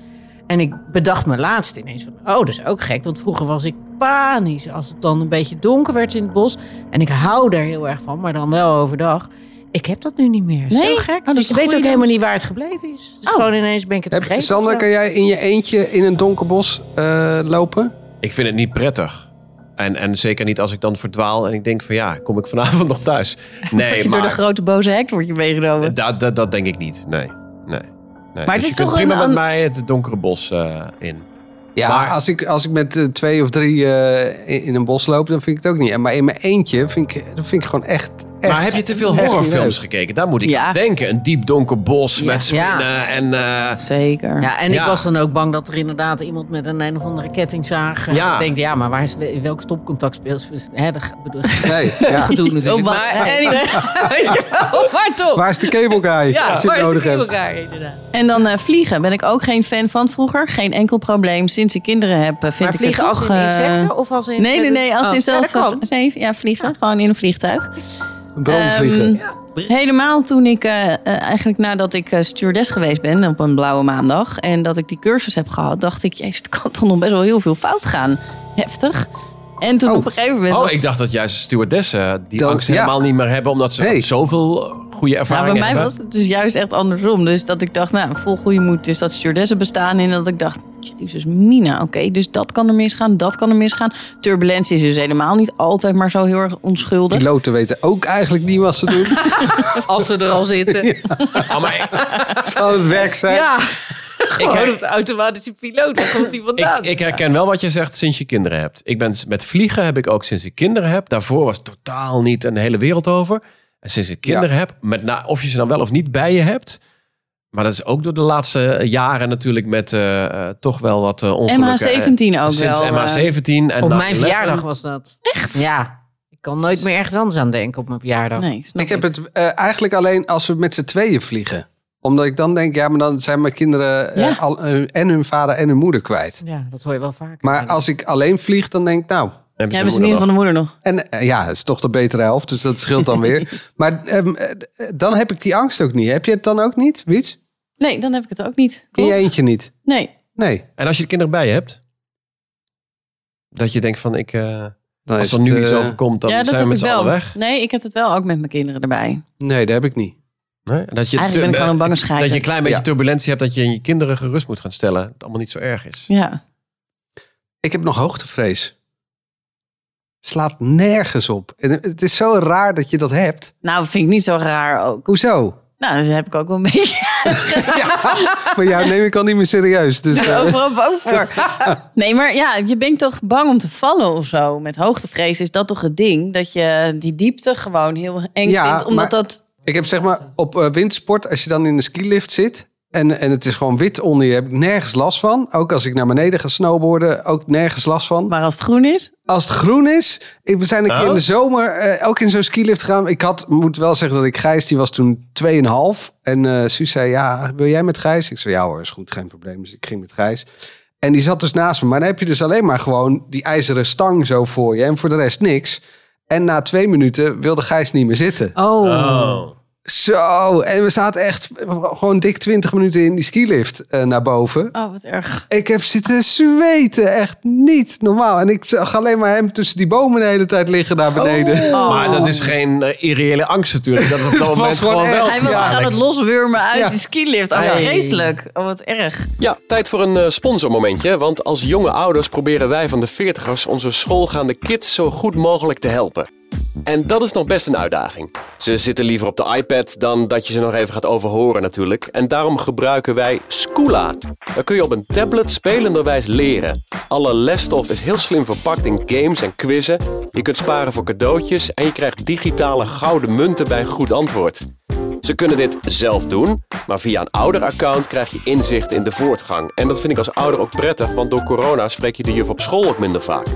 S2: En ik bedacht me laatst ineens van... Oh, dat is ook gek. Want vroeger was ik panisch als het dan een beetje donker werd in het bos. En ik hou daar heel erg van, maar dan wel overdag. Ik heb dat nu niet meer.
S3: Nee?
S2: Zo
S3: Oh,
S2: gek.
S3: dat is
S2: dus
S3: een
S2: ik weet
S3: goeie
S2: ook
S3: dan.
S2: helemaal niet waar het gebleven is. Dus
S3: Oh.
S2: gewoon ineens ben ik het
S1: Heb,
S2: vergeten.
S1: Sander, kan jij in je eentje in een donker bos eh, lopen?
S4: Ik vind het niet prettig. En, en zeker niet als ik dan verdwaal en ik denk van ja, kom ik vanavond nog thuis?
S3: Word
S4: Nee,
S3: je door de
S4: maar
S3: grote boze hek word je meegenomen.
S4: dat, dat, dat denk ik niet. Nee, nee. nee.
S3: het
S4: Maar dus
S3: is
S4: je kunt
S3: toch
S4: prima
S3: een
S4: met
S3: an-
S4: mij het donkere bos eh, in.
S1: Ja,
S4: Maar-
S1: als, ik, als ik met eh, twee of drie eh, in, in een bos loop, dan vind ik het ook niet. Maar in mijn eentje vind ik, dat vind ik gewoon echt, echt...
S4: maar heb je te veel
S1: echt
S4: horrorfilms
S1: niet
S4: gekeken? Daar moet ik
S3: Ja.
S4: aan denken. Een diep donker bos met
S2: Ja.
S4: spinnen en... eh,
S3: Zeker.
S2: Ja, en
S4: Ja.
S2: ik was dan ook bang dat er inderdaad iemand met een een of andere kettingzaag... eh,
S4: Ja.
S2: denkt, ja, maar waar is, in welk stopcontact speelt... Hè, dat bedoel ik.
S1: Nee, ja.
S2: Gedoe natuurlijk.
S5: Oh,
S2: maar,
S5: maar-
S2: anyway, weet je wel, maar toch.
S1: Waar is de cable guy
S5: Ja,
S1: als je
S5: waar
S1: hem
S5: is de
S1: nodig hebt?
S5: kielkaar inderdaad?
S3: En dan eh, vliegen ben ik ook geen fan van vroeger. Geen enkel probleem. Sinds ik kinderen heb, eh, vind
S2: maar
S3: ik
S2: vliegen
S3: het
S2: als
S3: toch...
S2: in
S3: eh,
S2: insecten of als in...
S3: Nee, nee, nee. Als
S2: Oh.
S3: in
S2: Ja, dat
S3: zelf... eh,
S2: kan.
S3: nee, ja, vliegen. Gewoon in een vliegtuig.
S1: Brandvliegen.
S3: Ehm, helemaal toen ik, eh, eh, eigenlijk nadat ik eh, stewardess geweest ben op een blauwe maandag. En dat ik die cursus heb gehad, dacht ik, jezus, het kan toch nog best wel heel veel fout gaan. Heftig. En toen
S1: Oh.
S3: op een gegeven moment
S4: Oh,
S3: was
S4: ik dacht dat juist stewardessen die
S1: Dat-
S4: angst
S1: ja.
S4: helemaal niet meer hebben... omdat ze
S1: Nee.
S4: zoveel goede
S3: Nou,
S4: ervaringen
S3: bij mij
S4: hebben.
S3: was het dus juist echt andersom. Dus dat ik dacht, nou, vol goede moed is dat stewardessen bestaan. En dat ik dacht, jezus mina, oké, dus dat kan er misgaan, dat kan er misgaan. Turbulentie is dus helemaal niet altijd maar zo heel erg onschuldig.
S1: Piloten weten ook eigenlijk niet wat ze doen.
S2: Als ze er al zitten.
S4: Oh, maar ik-
S1: Zou het werk zijn?
S2: Ja. Gewoon
S6: her-
S2: op de automatische piloot. Daar komt hij
S6: Ik,
S2: vandaan.
S6: ik herken wel wat je zegt sinds je kinderen hebt. Ik ben, met vliegen heb ik ook sinds ik kinderen heb. Daarvoor was het totaal niet een hele wereld over. En sinds ik kinderen heb, met, na- of je ze dan wel of niet bij je hebt. Maar dat is ook door de laatste jaren natuurlijk met eh, eh, toch wel wat eh ongelukken.
S3: MH17 ook
S6: Sinds
S3: wel. eh,
S6: MH17 en
S2: op
S6: 9/11.
S2: mijn verjaardag was dat. Echt? Ja. Ik kan nooit meer ergens anders aan denken op mijn verjaardag.
S3: Nee, snap
S1: Ik heb het eh, eigenlijk alleen als we met z'n tweeën vliegen. Omdat ik dan denk, ja, maar dan zijn mijn kinderen eh,
S3: Ja.
S1: al, eh, en hun vader en hun moeder kwijt.
S2: Ja, dat hoor je wel vaker.
S1: Maar als ik alleen vlieg, dan denk ik, nou,
S6: Hebben
S3: Ja,
S6: ze
S3: hebben ze in
S6: moeder
S3: ieder
S6: nog.
S3: geval de moeder nog.
S1: En eh, ja, het is toch de betere helft, dus dat scheelt dan weer. Maar ehm, eh, d- dan heb ik die angst ook niet. Heb je het dan ook niet, Wiets?
S3: Nee, dan heb ik het ook niet.
S1: In je
S3: Klopt.
S1: eentje niet?
S3: Nee.
S1: Nee.
S6: En als je de kinderen bij je hebt, dat je denkt van ik, eh,
S1: Dan
S6: als
S1: is
S6: er
S1: het,
S6: nu
S1: eh,
S6: iets overkomt, dan
S3: ja, dat
S6: zijn we
S3: heb
S6: met
S3: ik
S6: z'n
S3: wel.
S6: allen weg.
S3: Nee, ik heb het wel ook met mijn kinderen erbij.
S1: Nee, dat heb ik niet.
S6: Nee? En Dat je
S3: Eigenlijk ben ik
S6: te- eh,
S3: gewoon een bange
S6: Dat je een
S3: scheikert.
S6: klein beetje
S1: Ja.
S6: turbulentie hebt, dat je je kinderen gerust moet gaan stellen. Dat het allemaal niet zo erg is.
S3: Ja.
S1: Ik heb nog hoogtevrees. Slaat nergens op. En eh, het is zo raar dat je dat hebt.
S3: Nou, vind ik niet zo raar ook.
S1: Hoezo?
S3: Nou, dat heb ik ook wel een beetje
S1: Maar jou neem ik al niet meer serieus. Dus, eh,
S3: overal bang voor. Nee, maar ja, je bent toch bang om te vallen of zo. Met hoogtevrees is dat toch het ding? Dat je die diepte gewoon heel eng
S1: Ja,
S3: vindt. Omdat
S1: maar-
S3: dat...
S1: Ik heb zeg maar op eh, windsport, als je dan in de skilift zit en, en het is gewoon wit onder je, heb ik nergens last van. Ook als ik naar beneden ga snowboarden, ook nergens last van.
S3: Maar als het groen is...
S1: Als het groen is, ik- we zijn een keer
S6: Oh.
S1: in de zomer eh, ook in zo'n skilift gegaan. Ik had, moet wel zeggen dat ik Gijs, die was toen 2,5. En eh Suus zei, ja, wil jij met Gijs? Ik zei, ja hoor, is goed, geen probleem. Dus ik ging met Gijs. En die zat dus naast me. Maar dan heb je dus alleen maar gewoon die ijzeren stang zo voor je. En voor de rest niks. En na twee minuten wilde Gijs niet meer zitten.
S2: Oh.
S1: Zo, en we zaten echt gewoon dik 20 minuten in die skilift eh, naar boven.
S3: Oh, wat erg.
S1: Ik heb zitten zweten, echt niet normaal. En ik zag alleen maar hem tussen die bomen de hele tijd liggen daar beneden.
S4: Oh.
S6: Maar dat is geen eh, irreële angst natuurlijk. Dat is op dat
S1: was
S6: moment
S1: gewoon
S6: gewoon
S1: echt-
S6: wel.
S3: Hij Oh. was
S6: Ja.
S3: aan het loswurmen uit
S1: Ja.
S3: die skilift. Oh, wat
S2: Hey.
S3: vreselijk. Oh, wat erg.
S4: Ja, tijd voor een eh, sponsormomentje. Want als jonge ouders proberen wij van de 40ers onze schoolgaande kids zo goed mogelijk te helpen. En dat is nog best een uitdaging. Ze zitten liever op de iPad dan dat je ze nog even gaat overhoren natuurlijk. En daarom gebruiken wij Schoola. Daar kun je op een tablet spelenderwijs leren. Alle lesstof is heel slim verpakt in games en quizzen. Je kunt sparen voor cadeautjes en je krijgt digitale gouden munten bij een goed antwoord. Ze kunnen dit zelf doen, maar via een ouderaccount krijg je inzicht in de voortgang. En dat vind ik als ouder ook prettig, want door corona spreek je de juf op school ook minder vaak.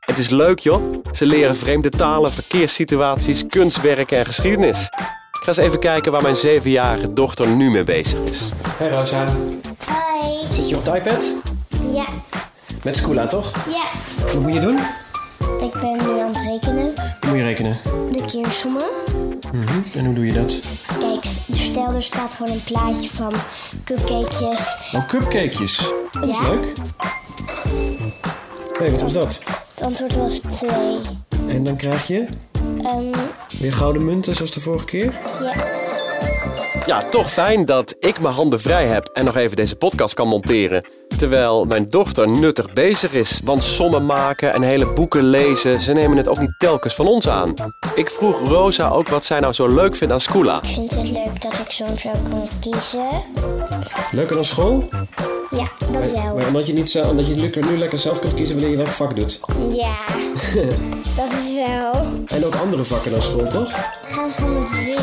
S4: Het is leuk joh, ze leren vreemde talen, verkeerssituaties, kunstwerken en geschiedenis. Ik ga eens even kijken waar mijn zevenjarige dochter nu mee bezig is. Hey Rosa,
S7: Hoi.
S4: zit je op de iPad?
S7: Ja,
S4: Met Scoola toch?
S7: ja.
S4: Wat moet je doen?
S7: Ik ben nu aan het rekenen.
S4: Moet je rekenen.
S7: De keersommen.
S4: En hoe doe je dat?
S7: Kijk, stel er staat gewoon een plaatje van cupcakejes.
S4: Oh, cupcakejes. Dat
S7: is Ja. leuk.
S4: Hé, wat was dat?
S7: Het antwoord was twee.
S4: En dan krijg je
S7: Ehm,
S4: weer gouden munten zoals de vorige keer.
S7: ja.
S4: Ja, toch fijn dat ik mijn handen vrij heb en nog even deze podcast kan monteren. Terwijl mijn dochter nuttig bezig is. Want sommen maken en hele boeken lezen, ze nemen het ook niet telkens van ons aan. Ik vroeg Rosa ook wat zij nou zo leuk vindt aan Scoola.
S7: Ik vind het leuk dat ik soms ook kan kiezen.
S4: Leuker dan school?
S7: Ja, dat wel.
S4: omdat je, niet zo, omdat je nu lekker zelf kunt kiezen wanneer je welk vak doet.
S7: Ja, dat is wel.
S4: En ook andere vakken dan school, toch?
S7: Gaan we van het weer.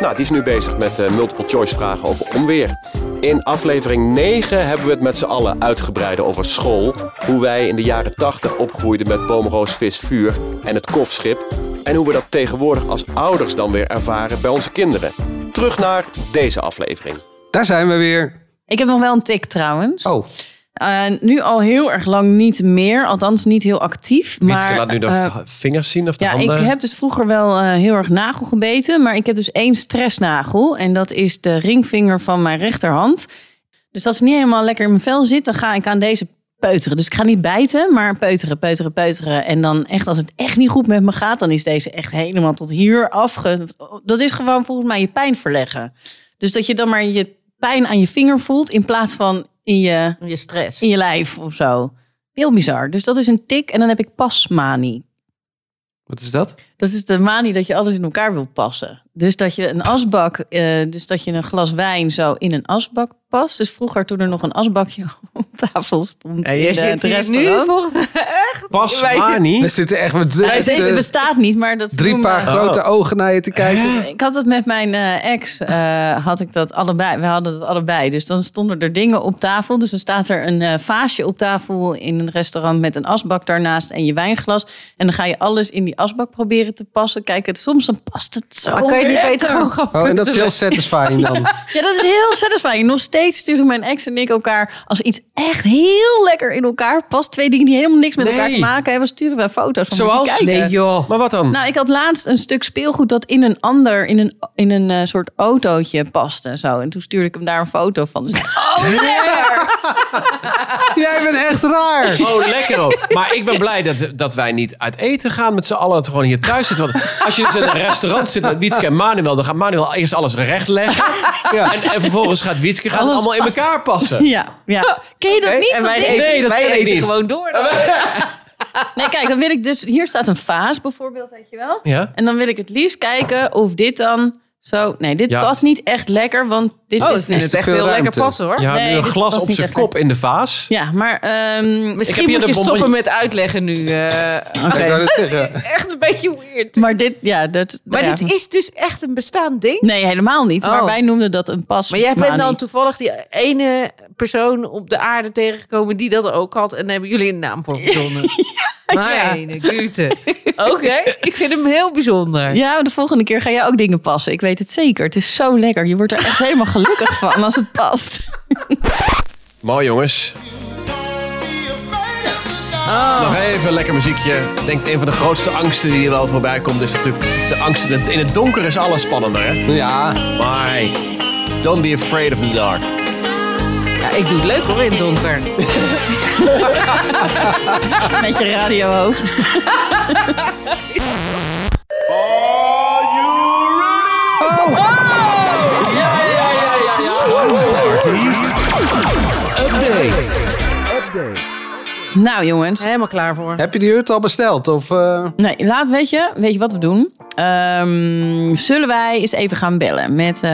S4: Nou, die is nu bezig met eh, multiple choice vragen over onweer. In aflevering 9 hebben we het met z'n allen uitgebreid over school. Hoe wij in de jaren 80 opgroeiden met boomroos, vis, vuur en het kofschip. En hoe we dat tegenwoordig als ouders dan weer ervaren bij onze kinderen. Terug naar deze aflevering.
S1: Daar zijn we weer.
S3: Ik heb nog wel een tik trouwens.
S1: Oh,
S3: Eh, nu al heel erg lang niet meer. Althans, niet heel actief.
S6: Mietske
S3: Maar,
S6: laat nu de
S3: eh,
S6: v- vingers zien of de
S3: ja,
S6: handen.
S3: ik heb dus vroeger wel eh, heel erg nagel gebeten. Maar ik heb dus één stressnagel. En dat is de ringvinger van mijn rechterhand. Dus als ik niet helemaal lekker in mijn vel zit, dan ga ik aan deze peuteren. Dus ik ga niet bijten, maar peuteren, peuteren, peuteren. En dan echt, als het echt niet goed met me gaat, dan is deze echt helemaal tot hier afge... Dat is gewoon volgens mij je pijn verleggen. Dus dat je dan maar je pijn aan je vinger voelt in plaats van in je
S2: Je stress.
S3: in je lijf of zo. Heel bizar. Dus dat is een tik en dan heb ik pasmanie.
S1: wat is dat?
S3: Dat is de manie dat je alles in elkaar wil passen. Dus dat je een asbak, eh, dus dat je een glas wijn zo in een asbak past. Dus vroeger toen er nog een asbakje op tafel stond.
S2: En
S3: in
S2: je
S3: de-
S2: zit
S3: het
S2: hier nu
S3: restaurant.
S2: volgens
S4: Pas
S2: Wij
S4: maar
S2: zitten-
S1: We
S4: niet.
S1: zitten echt met
S3: Nou,
S1: met,
S3: deze
S1: eh,
S3: bestaat niet, maar dat
S1: drie
S3: toen,
S1: paar
S3: eh,
S1: grote ogen naar je te kijken.
S3: Ik had het met mijn eh, ex, eh, had ik dat allebei. We hadden dat allebei. Dus dan stonden er dingen op tafel. Dus dan staat er een eh, vaasje op tafel in een restaurant met een asbak daarnaast en je wijnglas. En dan ga je alles in die asbak proberen te passen. Kijk, het, soms dan past het zo.
S2: Maar kan je niet
S3: lekker.
S2: beter gewoon gaan
S1: Oh, en dat is
S2: puzzelen?
S1: heel satisfying dan.
S3: Ja, dat is heel satisfying. Nog steeds sturen mijn ex en ik elkaar als iets echt heel lekker in elkaar past. Twee dingen die helemaal niks met
S4: Nee.
S3: elkaar te maken hebben, sturen we foto's van.
S4: Zoals?
S3: Moet je kijken.
S2: Nee joh.
S4: Maar wat dan?
S3: Nou, ik had laatst een stuk speelgoed dat in een ander, in een, in een eh, soort autootje paste en zo. En toen stuurde ik hem daar een foto van. Dus,
S1: Jij bent echt raar.
S4: Oh, lekker ook. Maar ik ben blij dat, dat wij niet uit eten gaan met z'n allen. Dat we gewoon hier thuis zitten. Want als je dus in een restaurant zit met Wietske en Manuel... dan gaat Manuel eerst alles recht leggen. En, en vervolgens gaat Wietske gaat het
S3: Alles
S4: allemaal in elkaar passen.
S3: ja, ja. Ken je dat
S2: Oké,
S3: niet?
S2: En
S3: van
S2: wij
S3: dingen?
S2: eten,
S4: Nee, dat
S2: wij
S4: ken ik
S2: eten
S4: niet.
S2: gewoon door. Oh, dan.
S3: Nee, kijk, dan wil ik dus... Hier staat een vaas bijvoorbeeld, weet je wel.
S4: Ja?
S3: En dan wil ik het liefst kijken of dit dan zo... Nee, dit
S4: Ja.
S3: past niet echt lekker, want dit
S2: Oh,
S3: is dus
S2: het is
S1: te
S2: echt
S1: veel
S2: heel lekker
S1: ruimte.
S2: passen hoor.
S4: Je houdt nu
S3: Nee,
S4: een
S3: dit
S4: glas
S3: past
S4: op
S3: niet
S4: zijn
S3: echt
S4: kop in de vaas.
S3: Ja, maar... ehm,
S4: heb
S2: Misschien
S4: hier
S2: moet
S4: de
S2: je stoppen
S4: bonbon-
S2: met uitleggen nu. eh.
S1: Ik wou net zeggen.
S2: echt een beetje weird.
S3: maar dit, ja, dat...
S2: Maar
S3: ja.
S2: dit is dus echt een bestaand ding.
S3: Nee, helemaal niet. Maar
S2: Oh.
S3: wij noemden dat een pas.
S2: Maar jij bent
S3: manie.
S2: dan toevallig die ene persoon op de aarde tegengekomen die dat ook had. En daar hebben jullie een naam voor verzonnen.
S3: Ja.
S2: Mijn gute. Oké, ik vind hem heel bijzonder.
S3: Ja, maar de volgende keer ga jij ook dingen passen. Ik weet het zeker. Het is zo lekker. Je wordt er echt helemaal gelukkig van als het past.
S4: Mooi jongens. Nog even een lekker muziekje. Ik denk een van de grootste angsten die hier wel voorbij komt is natuurlijk de angst. in het- In het donker is alles spannender, hè?
S1: Ja,
S4: Maar hey, don't be afraid of the dark.
S2: Ja, ik doe het leuk hoor in het donker.
S3: Met je radiohoofd. Oh. Nou jongens.
S2: Helemaal klaar voor.
S1: heb je die hut al besteld? Of, eh,
S3: Nee, laat weet je. Weet je wat we doen? Ehm, zullen wij eens even gaan bellen met eh,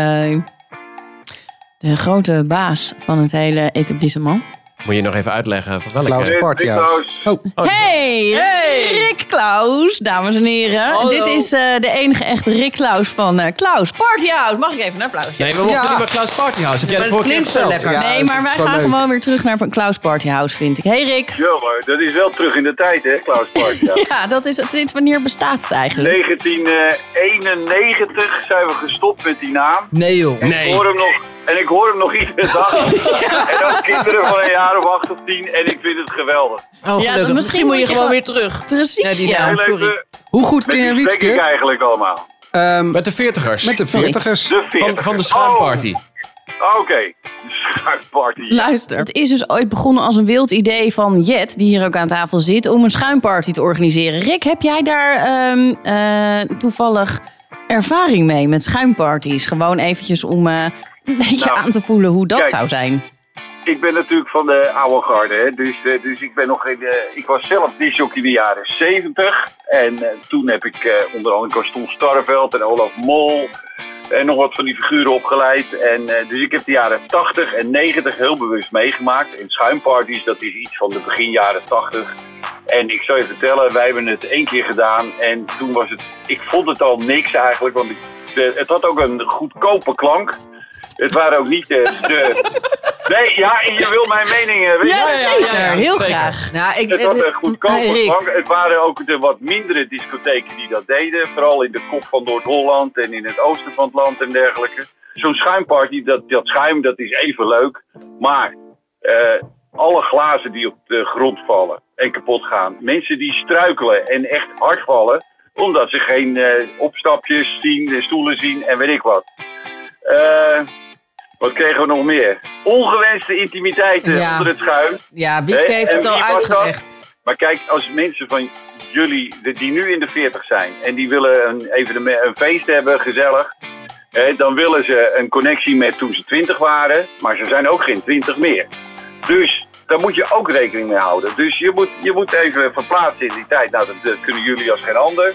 S3: de grote baas van het hele etablissement.
S4: Moet je nog even uitleggen van welke?
S1: Klaus Part, ja. Oh,
S3: Hey,
S2: Hey!
S3: Rick Klaus, dames en heren.
S2: Hallo.
S3: Dit is eh, de enige echte Rick Klaus van eh, Klaus Partyhouse. Mag ik even een applausje?
S4: Nee, we mochten
S1: Ja.
S4: niet bij Klaus Partyhouse. Heb jij de
S2: Maar
S4: vorige
S2: het
S4: keer
S2: klinkt zo
S4: verteld?
S2: lekker.
S1: Ja,
S3: nee,
S1: dat
S3: maar
S1: is
S3: wij
S1: wel
S3: gaan
S1: leuk.
S3: gewoon weer terug naar Klaus Partyhouse, vind ik. Hey Rick.
S8: Ja, maar dat is wel terug in de tijd, hè, Klaus Park. Ja.
S3: Ja, dat is het. Sinds wanneer bestaat het eigenlijk?
S8: 1991 eh, zijn we gestopt met die naam.
S2: Nee joh.
S8: En
S4: Nee.
S8: Ik hoor hem nog, en ik hoor hem nog iedere dag. En ook kinderen van een jaar of acht of tien. En ik vind het geweldig.
S2: Oh,
S3: Ja,
S2: gelukkig.
S3: dan
S2: misschien, moet je gewoon weer terug.
S3: Precies,
S2: Ja, die
S3: ja.
S2: naam.
S8: Heel
S2: sorry.
S8: even,
S1: hoe goed
S8: met
S1: ken je
S8: wie spreek ik
S1: Wietske?
S8: eigenlijk allemaal?
S1: Ehm,
S4: Met de veertigers.
S1: met de
S3: Sorry.
S1: veertigers.
S8: De 40.
S4: van, van de
S8: Oh.
S4: schaamparty.
S8: Oké, de schuimparty.
S3: Luister, het is dus ooit begonnen als een wild idee van Jet, die hier ook aan tafel zit, om een schuimparty te organiseren. Rick, heb jij daar ehm, eh, toevallig ervaring mee met schuimparties? Gewoon eventjes om eh, een beetje
S8: Nou,
S3: aan te voelen hoe dat
S8: kijk.
S3: zou zijn.
S8: Ik ben natuurlijk van de oude garde, hè, dus, eh, dus ik ben nog in de, ik was zelf disjockey in de jaren 70. En eh, toen heb ik eh, onder andere Gaston Starveld en Olaf Mol en nog wat van die figuren opgeleid. En, eh, dus ik heb de jaren 80 en 90 heel bewust meegemaakt. En schuimparties, dat is iets van de begin jaren 80. En ik zal je vertellen, wij hebben het één keer gedaan en toen was het, ik vond het al niks eigenlijk, want ik, de- het had ook een goedkope klank. Het waren ook niet de... de nee, ja, en je wil mijn mening hebben.
S3: Ja,
S4: ja, ja, ja,
S3: zeker.
S4: ja,
S3: Heel
S4: zeker.
S3: graag.
S2: Nou, ik,
S8: Het was een goedkope
S2: Hey, Rick.
S8: klank. Het waren ook de wat mindere discotheken die dat deden. Vooral in de kop van Noord-Holland en in het oosten van het land en dergelijke. Zo'n schuimparty, dat, dat schuim, dat is even leuk. Maar eh, alle glazen die op de grond vallen en kapot gaan. Mensen die struikelen en echt hard vallen. Omdat ze geen eh, opstapjes zien, eh, stoelen zien en weet ik wat. Eh, wat kregen we nog meer? Ongewenste intimiteiten
S2: Ja.
S8: onder het schuim.
S2: Ja, Wietke
S8: Hey,
S2: Nou, heeft
S8: en
S2: het al
S8: wie was dat?
S2: uitgelegd.
S8: Maar kijk, als mensen van jullie, de- die nu in de 40 zijn en die willen een, evenement, een feest hebben, gezellig. Hè, dan willen ze een connectie met toen ze 20 waren, maar ze zijn ook geen 20 meer. Dus daar moet je ook rekening mee houden. Dus je moet, je moet even verplaatsen in die tijd. Nou, dat, dat kunnen jullie als geen ander.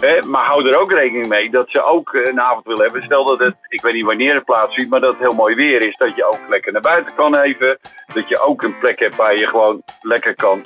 S8: Hè, maar hou er ook rekening mee dat ze ook eh, een avond willen hebben. Stel dat het, ik weet niet wanneer het plaatsvindt, maar dat het heel mooi weer is. Dat je ook lekker naar buiten kan even. Dat je ook een plek hebt waar je gewoon lekker kan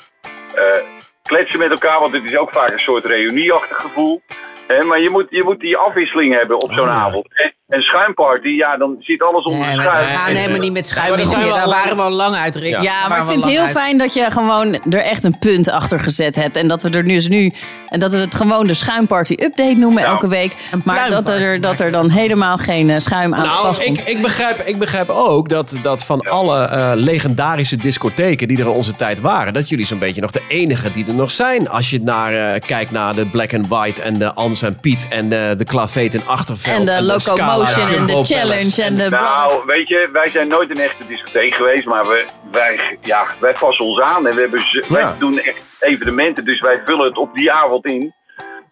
S8: eh, kletsen met elkaar. Want het is ook vaak een soort reunieachtig gevoel. Hè, maar je moet, je moet die afwisseling hebben op zo'n
S4: Ah.
S8: avond. En, en schuimparty, ja, dan zit alles onder
S2: Oh Nee,
S8: de
S2: maar we
S8: schuim.
S2: gaan
S8: En-
S2: helemaal niet met schuim.
S4: maar
S2: in
S4: dan zijn
S2: zitten.
S4: we
S2: Daar
S4: al lang-
S2: waren we al lang uit, Rick.
S4: Ja.
S2: Daar
S3: Ja, maar
S2: waren
S3: ik
S2: we
S3: vind
S2: al
S3: het heel
S2: lang uit.
S3: fijn dat je gewoon er echt een punt achter gezet hebt. En dat we er dus nu, en dat we het gewoon de schuimparty update noemen elke week. Maar dat
S2: pluimparty
S3: er, dat er
S2: maken.
S3: dan helemaal geen eh, schuim aan de
S4: Nou,
S3: pas komt.
S4: ik, ik, begrijp, ik begrijp ook dat, dat van alle eh, legendarische discotheken die er in onze tijd waren, dat jullie zo'n beetje nog de enige die er nog zijn. Als je naar, eh, kijkt naar de Black and White en de Ans en Piet en de, de Clavet Nou, en Achterveld.
S3: en de
S4: Scala
S3: locomotion en de
S4: Jumbo
S3: challenge
S4: Palace.
S3: en de...
S8: Nou, weet je, wij zijn nooit een echte discotheek geweest, maar we, wij, ja, wij passen ons aan en we hebben z- wij doen echt evenementen, dus wij vullen het op die avond in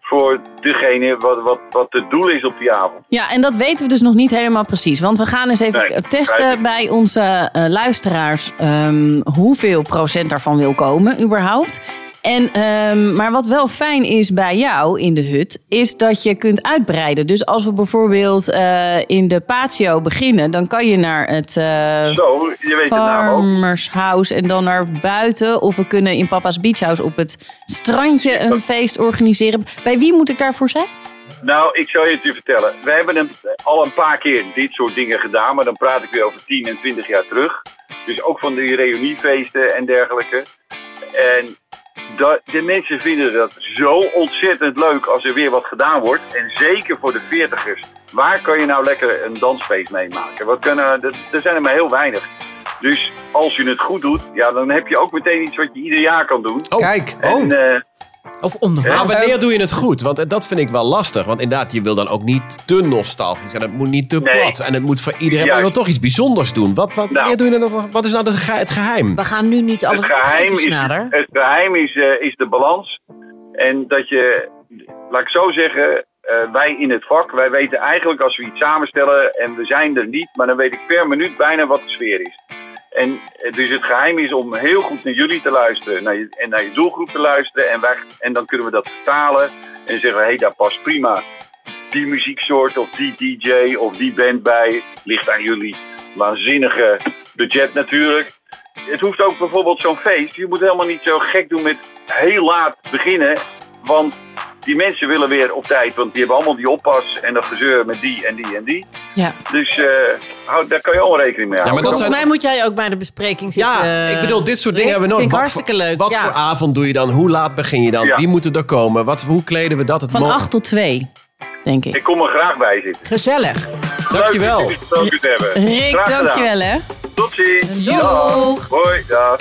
S8: voor degene wat, wat, wat het doel is op die avond.
S3: Ja, en dat weten we dus nog niet helemaal precies. Want we gaan eens even
S8: Nee,
S3: testen
S8: begrijp ik.
S3: bij onze eh, luisteraars ehm, hoeveel procent daarvan wil komen überhaupt. En, ehm, maar wat wel fijn is bij jou in de hut, is dat je kunt uitbreiden. Dus als we bijvoorbeeld eh, in de patio beginnen, dan kan je naar het eh,
S8: Zo, je weet het naam ook.
S3: Farmers House en dan naar buiten. Of we kunnen in Papa's Beach House op het strandje een feest organiseren. Bij wie moet ik daarvoor zijn?
S8: Nou, ik zal je het u vertellen. We hebben een, al een paar keer dit soort dingen gedaan, maar dan praat ik weer over 10 en 20 jaar terug. Dus ook van die reuniefeesten en dergelijke. En dat, de mensen vinden dat zo ontzettend leuk als er weer wat gedaan wordt. En zeker voor de veertigers. Waar kan je nou lekker een dansfeest meemaken? Wat kunnen, dat, er zijn er maar heel weinig. Dus als je het goed doet, ja, dan heb je ook meteen iets wat je ieder jaar kan doen.
S4: Oh,
S1: Kijk.
S4: Oh.
S8: En, eh,
S2: Of onderhoud.
S4: Maar wanneer doe je het goed? Want eh, dat vind ik wel lastig. Want inderdaad, je wil dan ook niet te nostalgisch zijn. Het moet niet te
S8: Nee.
S4: plat. En het moet voor iedereen. Maar je wil
S8: Juist.
S4: toch iets bijzonders doen. Wat, wat, wanneer
S8: Nou.
S4: doe je dat, wat is nou de, ge- het geheim?
S2: We gaan nu niet alles
S8: het geheim,
S2: even
S8: is,
S2: snader.
S8: het geheim is, eh, is de balans. En dat je, laat ik zo zeggen, eh, wij in het vak, wij weten eigenlijk als we iets samenstellen en we zijn er niet, maar dan weet ik per minuut bijna wat de sfeer is. En eh, dus het geheim is om heel goed naar jullie te luisteren naar je, en naar je doelgroep te luisteren. En, wij, en dan kunnen we dat vertalen en zeggen, hé, hey, daar past prima die muzieksoort of die DJ of die band bij. Ligt aan jullie waanzinnige budget natuurlijk. Het hoeft ook bijvoorbeeld zo'n feest. Je moet helemaal niet zo gek doen met heel laat beginnen. Want die mensen willen weer op tijd. Want die hebben allemaal die oppas en dat gezeur met die en die en die.
S3: Ja.
S8: Dus eh, hou, daar kan je allemaal rekening mee
S4: maar
S8: houden.
S4: dat
S2: Volgens
S4: zijn-
S2: mij moet jij ook bij de bespreking zitten.
S4: Ja, ik bedoel, dit soort dingen
S2: eh, Rick,
S4: hebben we
S2: Vind
S4: nodig.
S2: ik
S4: voor-
S2: hartstikke leuk.
S4: Wat
S2: ja.
S4: voor avond doe je dan? Hoe laat begin je dan?
S8: Ja.
S4: Wie moet er komen? Wat, hoe kleden we dat het
S3: Van
S4: mo-
S3: 8 tot 2, denk ik.
S8: Ik kom er graag bij zitten.
S2: Gezellig.
S4: Dankjewel.
S8: Leuk dat jullie gesproken te hebben.
S3: Rick,
S8: Graag gedaan.
S3: dankjewel hè.
S8: Tot ziens.
S3: Doeg.
S8: Hoi, dag.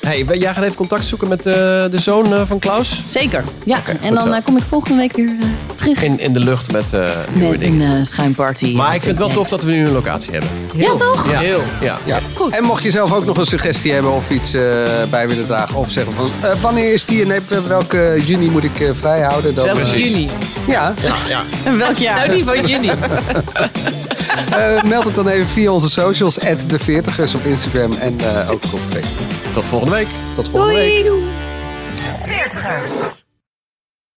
S4: Hey, ben- jij gaat even contact zoeken met eh, de zoon eh, van Klaus.
S3: Zeker. Ja, en
S4: goed
S3: dan
S4: zo.
S3: eh, kom ik volgende week weer eh, terug
S4: In, in de lucht met eh, nieuwe
S3: met een
S4: dingen.
S3: eh, schuimparty.
S4: Maar ik vind het wel tof dat we nu een locatie hebben.
S3: Ja, toch?
S4: Ja.
S1: Heel.
S4: Ja.
S1: Ja. En mocht je zelf ook nog een suggestie hebben of iets eh, bij willen dragen of zeggen van eh, wanneer is die en heb- welke juni moet ik eh, vrijhouden? Dan,
S2: Welke
S1: eh,
S4: precies.
S2: juni?
S1: ja,
S3: En welk jaar?
S2: Nou, die van juni.
S1: Eh, meld het dan even via onze socials, de 40ers op Instagram en eh, ook op Facebook.
S4: Tot volgende week.
S1: Tot volgende week.
S5: Veertigers.